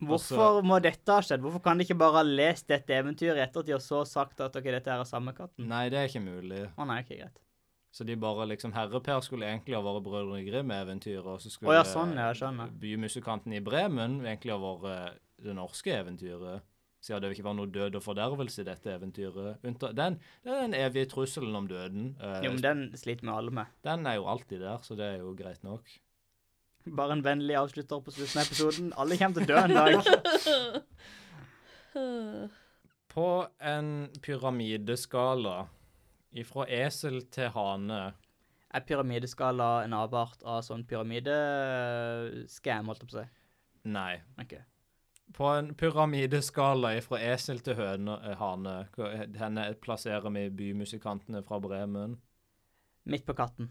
[SPEAKER 2] Altså-
[SPEAKER 3] Hvorfor må dette ha skjedd? Hvorfor kan de ikke bare ha lest dette eventyret i ettertid og så sagt at OK, dette her er samme katten?
[SPEAKER 2] Nei, det er ikke mulig.
[SPEAKER 3] Å nei, OK, greit.
[SPEAKER 2] Så de bare liksom Herreper skulle egentlig ha vært Brødrene Grim-eventyret, og så skulle eh,
[SPEAKER 3] Å ja, sånn, ja, jeg skjønner.
[SPEAKER 2] bymusikanten i Bremen egentlig ha vært det norske eh, eventyret. siden det ikke var noe død og fordervelse i dette eventyret. Unnta- Den, det er den evige trusselen om døden. eh,
[SPEAKER 3] Jo, men den sliter vi alle med.
[SPEAKER 2] Den er jo alltid der, så det er jo greit nok.
[SPEAKER 3] Bare en vennlig avslutter på slutten av episoden. Alle kommer til å dø en dag.
[SPEAKER 2] På en pyramideskala ifra esel til hane
[SPEAKER 3] Er pyramideskala en avart av sånn pyramideskam, holdt jeg på å si?
[SPEAKER 2] Nei.
[SPEAKER 3] Ok.
[SPEAKER 2] På en pyramideskala ifra esel til høne, eh, hane hva- Henne plasserer vi bymusikantene fra Bremen.
[SPEAKER 3] Midt på katten.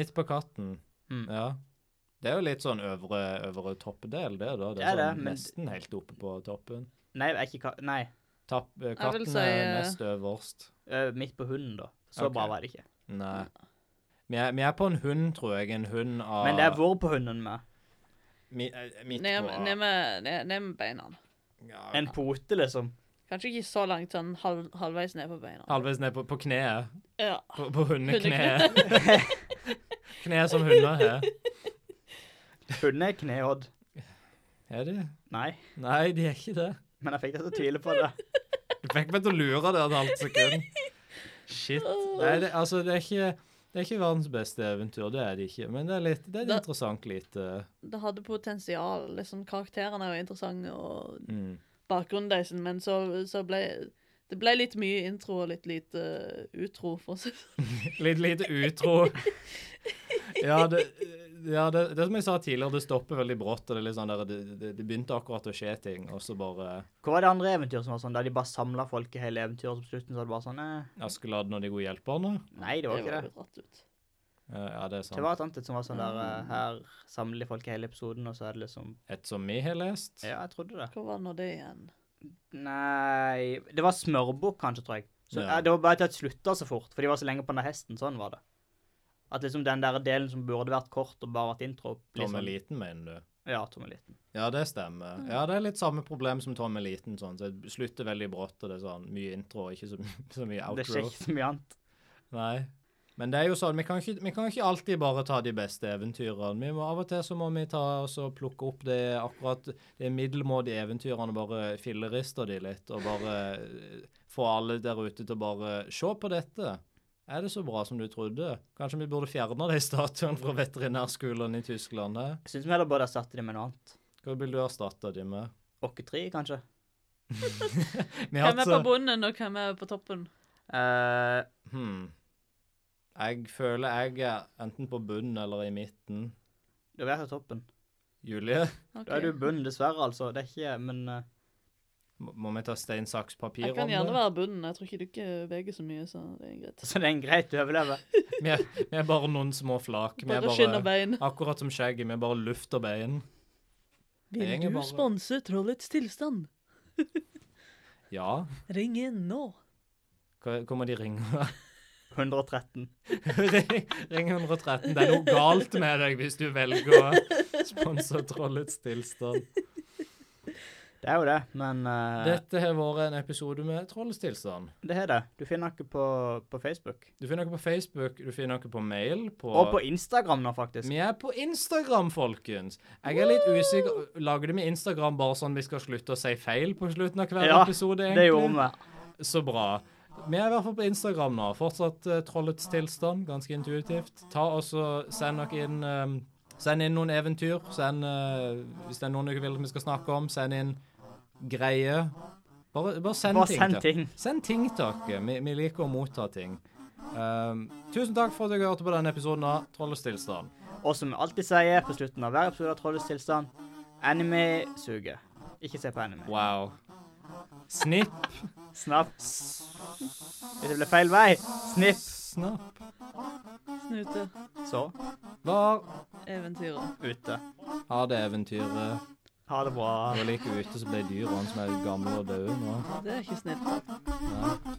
[SPEAKER 2] Midt på katten.
[SPEAKER 3] Mm.
[SPEAKER 2] Ja. Det er jo litt sånn øvre, øvre toppdel, det, da. Det
[SPEAKER 3] Det
[SPEAKER 2] er,
[SPEAKER 3] er
[SPEAKER 2] sånn
[SPEAKER 3] det, men-
[SPEAKER 2] nesten helt oppe på toppen.
[SPEAKER 3] Nei, er ikke ka Nei,
[SPEAKER 2] Tapp, eh,
[SPEAKER 4] Jeg vil
[SPEAKER 2] katten
[SPEAKER 4] si,
[SPEAKER 2] er
[SPEAKER 4] eh,
[SPEAKER 2] nest øverst.
[SPEAKER 3] ø, midt på hunden, da. Så
[SPEAKER 2] Ok.
[SPEAKER 3] bra var det ikke.
[SPEAKER 2] Nei. Vi er, vi er på en hund, tror jeg. En hund av
[SPEAKER 3] Men det er hvor på hunden med.
[SPEAKER 2] mi, eh, Midt
[SPEAKER 4] Ned
[SPEAKER 2] på
[SPEAKER 4] ned med, ned, ned med beina.
[SPEAKER 2] ja,
[SPEAKER 3] En pote, liksom.
[SPEAKER 4] Kanskje ikke så langt, sånn halv, halvveis ned på beina.
[SPEAKER 2] Halvveis ned på, på kneet.
[SPEAKER 4] Ja.
[SPEAKER 2] På, på hundekneet. kneet som hunder har.
[SPEAKER 3] Hunden er kneodd.
[SPEAKER 2] Er de?
[SPEAKER 3] Nei,
[SPEAKER 2] Nei, de er ikke det.
[SPEAKER 3] men jeg fikk deg til å tvile på det.
[SPEAKER 2] Du fikk meg til å lure det et halvt sekund. Shit. Nei, det, altså, det er ikke det er ikke verdens beste eventyr, det er det ikke. Men det er, litt, det er et
[SPEAKER 4] Da-
[SPEAKER 2] interessant eh, lite
[SPEAKER 4] Det hadde potensial. liksom Karakterene er jo interessante, og
[SPEAKER 2] mm.
[SPEAKER 4] bakgrunnen deres, men så, så ble det ble litt mye intro og litt lite eh, utro, for å si det sånn.
[SPEAKER 2] Litt lite utro. Ja, det, ja det, det som jeg sa tidligere, det stopper veldig brått. og Det, er litt sånn der, det, det, det begynte akkurat å skje ting, og så bare
[SPEAKER 3] Hva var det andre eventyret som var sånn, da de bare samla folk i hele eventyret, og på slutten så var det bare sånn eh,
[SPEAKER 2] Askeladden og de gode hjelperne.
[SPEAKER 3] Nei, det var
[SPEAKER 4] Det
[SPEAKER 3] ikke
[SPEAKER 4] var
[SPEAKER 3] det.
[SPEAKER 4] jo dratt ut.
[SPEAKER 2] Eh, Ja, det er
[SPEAKER 3] Det
[SPEAKER 2] sant.
[SPEAKER 3] var et annet et som var sånn der eh, Her samler folk i hele episoden, og så er det liksom
[SPEAKER 2] Et som vi har lest.
[SPEAKER 3] Ja, jeg trodde det.
[SPEAKER 4] Hva var nå det igjen?
[SPEAKER 3] Nei Det var smørbukk, kanskje, tror jeg. Så,
[SPEAKER 2] Ja.
[SPEAKER 3] eh, Det var bare til at det slutta så fort, for de var så lenge på den der hesten. Sånn var det. At liksom den der delen som burde vært kort og bare vært intro blir sånn-
[SPEAKER 2] Tommeliten, mener du?
[SPEAKER 3] Ja, tommeliten.
[SPEAKER 2] Ja, det stemmer. Ja, det er litt samme problem som Tommeliten. Sånn. Så det slutter veldig brått, og det er sånn mye intro og ikke så, så mye
[SPEAKER 3] Det
[SPEAKER 2] outro.
[SPEAKER 3] skjer ikke så mye annet.
[SPEAKER 2] Nei. Men det er jo sånn, vi kan, ikke, vi kan ikke alltid bare ta de beste eventyrene. Vi må Av og til så må vi ta og så plukke opp det akkurat det middelmådige eventyrene og bare fillerister de litt, og bare eh, få alle der ute til å bare se på dette. Er det så bra som du trodde? Kanskje vi burde fjerne de statuene fra veterinærskolen i Tyskland? hæ?
[SPEAKER 3] Jeg syns vi heller burde erstatte det med noe annet.
[SPEAKER 2] Hva vil du erstatte de med?
[SPEAKER 3] Åkketre, kanskje.
[SPEAKER 2] Vi har
[SPEAKER 4] Hvem er
[SPEAKER 2] hatt
[SPEAKER 4] på
[SPEAKER 2] så-
[SPEAKER 4] bunnen, og hvem er på toppen?
[SPEAKER 3] Eh,
[SPEAKER 2] hmm. Jeg føler jeg er enten på bunnen eller i midten.
[SPEAKER 3] da vil jeg ta toppen.
[SPEAKER 2] Julie,
[SPEAKER 4] Ok.
[SPEAKER 3] Da er du i bunnen, dessverre, altså. Det er ikke Men eh,
[SPEAKER 2] må må vi ta stein, saks, papir
[SPEAKER 4] Jeg
[SPEAKER 2] om
[SPEAKER 4] kan gjerne
[SPEAKER 2] det?
[SPEAKER 4] være bunnen. Jeg tror ikke du ikke veger så mye, så det er greit.
[SPEAKER 3] så det er en greit å overleve.
[SPEAKER 2] Vi er, vi er bare noen små flak. Vi er
[SPEAKER 4] Bare skinn
[SPEAKER 2] bare,
[SPEAKER 4] og bein.
[SPEAKER 2] akkurat som skjegget, vi er bare luft og bein. Vil Jeg er du bare-
[SPEAKER 4] sponse Trollets tilstand?
[SPEAKER 2] Ja.
[SPEAKER 4] Ring inn nå.
[SPEAKER 2] Hva hva må de ringe?
[SPEAKER 3] 113.
[SPEAKER 2] Ring ring 113. Det er noe galt med deg hvis du velger å sponse Trollets tilstand.
[SPEAKER 3] Det er jo det, men eh,
[SPEAKER 2] Dette har vært en episode med Trollets tilstand.
[SPEAKER 3] det er det. Du finner ikke på, på Facebook.
[SPEAKER 2] Du finner noe på Facebook, du finner noe på mail, på
[SPEAKER 3] Og på Instagram nå, faktisk.
[SPEAKER 2] Vi er på Instagram, folkens. Jeg er litt usikker. Lagde vi Instagram bare sånn vi skal slutte å si feil på slutten av hver
[SPEAKER 3] Ja,
[SPEAKER 2] episode?
[SPEAKER 3] Det gjorde vi.
[SPEAKER 2] Så bra. Vi er i hvert fall på Instagram nå. Fortsatt eh, Trollets tilstand, ganske intuitivt. Ta oss og Send dere inn eh, Send inn noen eventyr. Send, eh, hvis det er noen dere vil at vi skal snakke om, send inn greier. Bare, bare send
[SPEAKER 3] Bare
[SPEAKER 2] ting.
[SPEAKER 3] send
[SPEAKER 2] til-
[SPEAKER 3] ting.
[SPEAKER 2] Send ting til dere. Vi, vi liker å motta ting. Um, tusen takk for at dere hørte på denne episoden av Trollets tilstand.
[SPEAKER 3] Og som vi alltid sier på slutten av hver episode av Trollets tilstand, anime suger. Ikke se på anime.
[SPEAKER 2] Wow. Snipp.
[SPEAKER 3] Snapp. Hvis det ble feil vei, snipp.
[SPEAKER 2] Snapp.
[SPEAKER 4] Snute.
[SPEAKER 3] Så
[SPEAKER 2] Var
[SPEAKER 4] Eventyret.
[SPEAKER 3] ute.
[SPEAKER 2] Ha det eventyret.
[SPEAKER 3] Ha det bra.
[SPEAKER 2] Det var like ute som de dyrene som er gamle og døde nå.
[SPEAKER 4] Det er ikke snilt.
[SPEAKER 2] Nei.